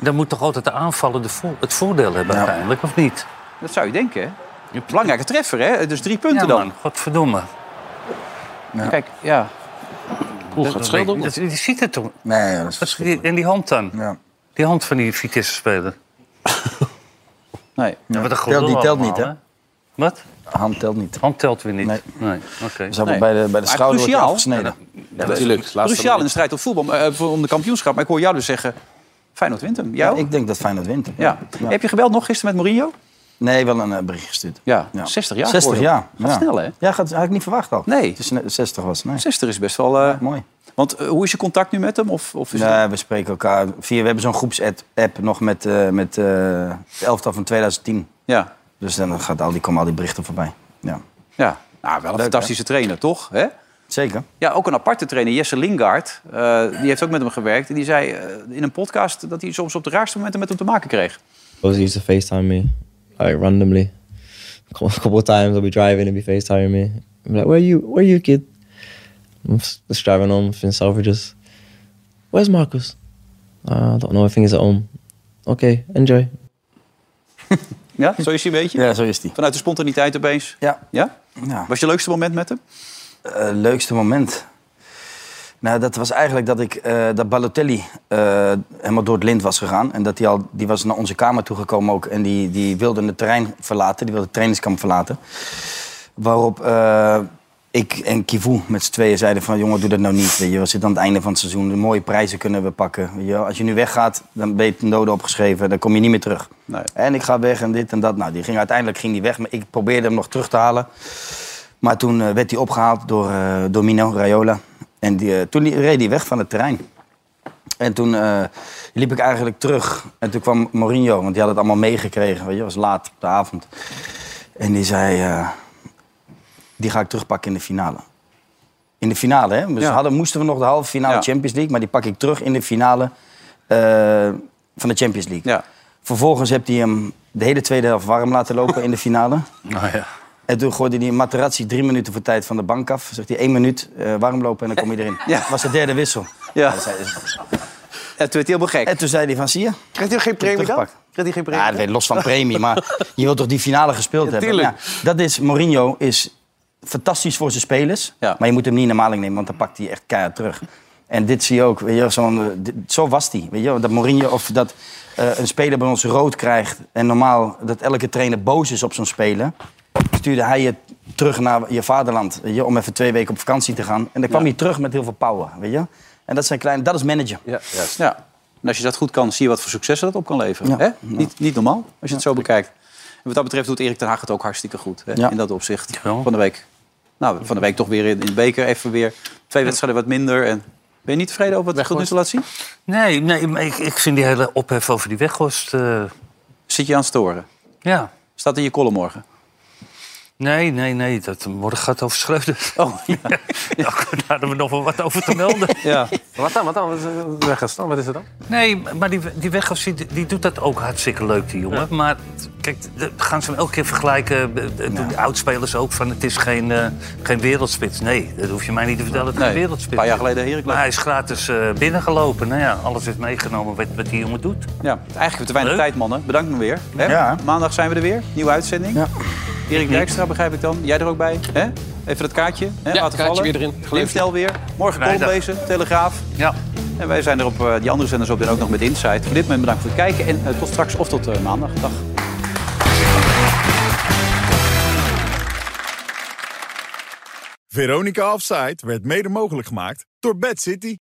[SPEAKER 4] Dan moet toch altijd de aanvaller de vo- het voordeel hebben uiteindelijk, of niet?
[SPEAKER 2] Dat zou je denken, hè? Belangrijke treffer, hè? Dus drie punten
[SPEAKER 4] Ja,
[SPEAKER 2] dan.
[SPEAKER 4] man, godverdomme.
[SPEAKER 2] Kijk, ja.
[SPEAKER 4] Hoe
[SPEAKER 2] gaat Schreuder om?
[SPEAKER 4] Je ziet het toch?
[SPEAKER 3] Nee,
[SPEAKER 4] En die hand dan? Die hand van die
[SPEAKER 3] <laughs>
[SPEAKER 4] Vitesse-speler.
[SPEAKER 2] Nee.
[SPEAKER 4] Ja, wat een
[SPEAKER 3] Telt niet,
[SPEAKER 4] gelul
[SPEAKER 3] telt niet, hè?
[SPEAKER 4] allemaal, Wat?
[SPEAKER 3] Hand telt niet.
[SPEAKER 4] Hand telt weer niet. Nee. Oké.
[SPEAKER 3] Dus hij wordt bij de, bij de
[SPEAKER 2] Maar
[SPEAKER 3] schouder wordt
[SPEAKER 2] cruciaal.
[SPEAKER 3] hij afgesneden.
[SPEAKER 2] Ja, Cruciaal in de strijd op voetbal, maar, eh, voor- om de kampioenschap. Maar ik hoor jou dus zeggen, Feyenoord wint hem. Jou?
[SPEAKER 3] Ik denk dat Feyenoord wint.
[SPEAKER 2] Ja. Heb je gebeld nog gisteren met Mourinho?
[SPEAKER 3] Nee, wel een eh, bericht gestuurd.
[SPEAKER 2] Ja, 60 jaar
[SPEAKER 3] 60
[SPEAKER 2] geworden.
[SPEAKER 3] jaar.
[SPEAKER 2] Gaat
[SPEAKER 3] ja.
[SPEAKER 2] snel, hè?
[SPEAKER 3] Ja, gaat, had ik niet verwacht al.
[SPEAKER 2] Nee.
[SPEAKER 3] Het is net 60 was, nee.
[SPEAKER 2] 60 is best wel... eh,
[SPEAKER 3] mooi.
[SPEAKER 2] Want eh, hoe is je contact nu met hem? Of, of is het-
[SPEAKER 3] Nee, we spreken elkaar via... We hebben zo'n groepsapp nog met, eh met eh het elftal van 2010.
[SPEAKER 2] Ja.
[SPEAKER 3] Dus dan gaat al die, komen al die berichten voorbij. Ja.
[SPEAKER 2] Ja, nou, wel een fantastische trainer, toch? Hè?
[SPEAKER 3] Zeker.
[SPEAKER 2] Ja, ook een aparte trainer, Jesse Lingard. eh, die heeft ook met hem gewerkt. En die zei eh, in een podcast dat hij soms op de raarste momenten met hem te maken kreeg.
[SPEAKER 8] He always used to FaceTime me, like randomly. A cou- couple <laughs> of times I'll be driving and be FaceTiming me. I'm like, where you, where you, kid? I'm s- just driving home from Selfridges. Where's Marcus? Uh, I don't know, I think he's at home. Okay, enjoy.
[SPEAKER 2] Ja, zo is hij een beetje?
[SPEAKER 3] Ja, zo is hij.
[SPEAKER 2] Vanuit de spontaniteit opeens?
[SPEAKER 3] Ja.
[SPEAKER 2] ja?
[SPEAKER 3] Ja.
[SPEAKER 2] Was je leukste moment met hem?
[SPEAKER 3] Eh, leukste moment? Nou, dat was eigenlijk dat ik eh, dat Balotelli eh, helemaal door het lint was gegaan. En dat hij al, die was naar onze kamer toegekomen ook. En die, die wilde het terrein verlaten, die wilde het trainingskamp verlaten. Waarop eh, ik en Kivu met z'n tweeën zeiden van... jongen, doe dat nou niet. Weet je, we zitten aan het einde van het seizoen. De mooie prijzen kunnen we pakken. Weet je, wel. als je nu weggaat, dan ben je ten dode opgeschreven. Dan kom je niet meer terug. En ik ga weg en dit en dat. Nou, die ging, uiteindelijk ging die weg. Maar ik probeerde hem nog terug te halen. Maar toen eh, werd hij opgehaald door, eh door Mino Raiola. En die, eh, toen li- reed hij weg van het terrein. En toen eh, liep ik eigenlijk terug. En toen kwam Mourinho, want die had het allemaal meegekregen. Weet je, het was laat op de avond. En die zei, eh, die ga ik terugpakken in de finale. In de finale, hè? Dus
[SPEAKER 2] Ja.
[SPEAKER 3] hadden, moesten we nog de halve finale
[SPEAKER 2] Ja.
[SPEAKER 3] Champions League. Maar die pak ik terug in de finale eh, van de Champions League. Vervolgens heb hij hem de hele tweede helft warm laten lopen in de finale.
[SPEAKER 4] Nou ja.
[SPEAKER 3] En toen gooide hij Materazzi drie minuten voor tijd van de bank af. Zegt hij één minuut eh, warm lopen en dan kom je erin. Dat was de derde wissel.
[SPEAKER 2] Ja.
[SPEAKER 3] dat zei-
[SPEAKER 2] En toen werd hij helemaal gek.
[SPEAKER 3] En toen zei hij van, zie je?
[SPEAKER 2] Krijgt hij geen premie dan?
[SPEAKER 3] Teruggepakt.
[SPEAKER 2] Krijgt hij geen premie?
[SPEAKER 3] Ja, dat weet ik, los van premie,
[SPEAKER 2] <laughs>
[SPEAKER 3] maar je wilt toch die finale gespeeld hebben?
[SPEAKER 2] tuurlijk.
[SPEAKER 3] Maar ja, dat is, Mourinho is fantastisch voor zijn spelers, maar je moet hem niet in de maling nemen, want dan pakt hij echt keihard terug. En dit zie je ook, weet je, wel, zo'n, eh, dit- zo was hij. Weet je, wel, dat Mourinho, of dat eh, een speler bij ons rood krijgt en normaal dat elke trainer boos is op zo'n speler, stuurde hij je terug naar je vaderland weet je, om even twee weken op vakantie te gaan. En dan kwam
[SPEAKER 2] Ja.
[SPEAKER 3] hij terug met heel veel power, weet je. En dat zijn kleine, dat is manager.
[SPEAKER 2] Ja, juist. ja. En als je dat goed kan, zie je wat voor succes dat op kan leveren. Hè? Niet, niet normaal, als je het zo bekijkt. En wat dat betreft doet Erik ten Hag het ook hartstikke goed. Hè?
[SPEAKER 3] Ja.
[SPEAKER 2] In dat opzicht. Van de week. Nou, van de week toch weer in, in de beker. Even weer twee wedstrijden wat minder. En ben je niet tevreden over wat Goed nu te laten zien?
[SPEAKER 4] Nee, nee maar ik, ik vind die hele ophef over die weghorst... eh,
[SPEAKER 2] Zit je aan het storen?
[SPEAKER 4] Ja.
[SPEAKER 2] Staat in je column morgen?
[SPEAKER 4] Nee, nee, nee. Dat morgen gaat over Schreuder. <laughs> Nou,
[SPEAKER 2] Oh, ja.
[SPEAKER 4] Daar hadden we nog wel wat over te melden.
[SPEAKER 2] ja.
[SPEAKER 5] Wat dan, wat dan? Wat is, eh, Weghorst dan? Wat is het dan?
[SPEAKER 4] Nee, maar die, die Weghorst die, die doet dat ook hartstikke leuk, die jongen. Maar t- kijk, de- gaan ze hem elke keer vergelijken. eh, eh, Doen de oudspelers ook van het is geen, eh, geen wereldspits. Nee, dat hoef je mij niet te vertellen. Het is
[SPEAKER 2] Nee,
[SPEAKER 4] geen wereldspits.
[SPEAKER 2] een paar jaar geleden Heracles.
[SPEAKER 4] Maar hij is gratis eh, binnengelopen. Nou ja, alles is meegenomen wat, wat die jongen doet.
[SPEAKER 2] Ja, eigenlijk te weinig tijd, mannen. Bedankt me weer. Hè?
[SPEAKER 4] Ja.
[SPEAKER 2] Maandag zijn we er weer. Nieuwe uitzending.
[SPEAKER 5] Mhm.
[SPEAKER 2] Erik Dijkstra begrijp ik dan. Jij er ook bij? Hè? Even dat kaartje. Hè?
[SPEAKER 5] Ja,
[SPEAKER 2] Laten
[SPEAKER 5] kaartje
[SPEAKER 2] vallen.
[SPEAKER 5] weer erin.
[SPEAKER 2] Neem
[SPEAKER 5] Gelukkig.
[SPEAKER 2] snel weer. Morgen column
[SPEAKER 5] Vrijdag.
[SPEAKER 2] lezen. Telegraaf.
[SPEAKER 4] Ja.
[SPEAKER 2] En wij zijn er op eh, die andere zenders op en ook nog met Insight. Voor dit moment bedankt voor het kijken. En eh, tot straks of tot eh, maandag. Dag.
[SPEAKER 7] Veronica Offside werd mede mogelijk gemaakt door Bad City.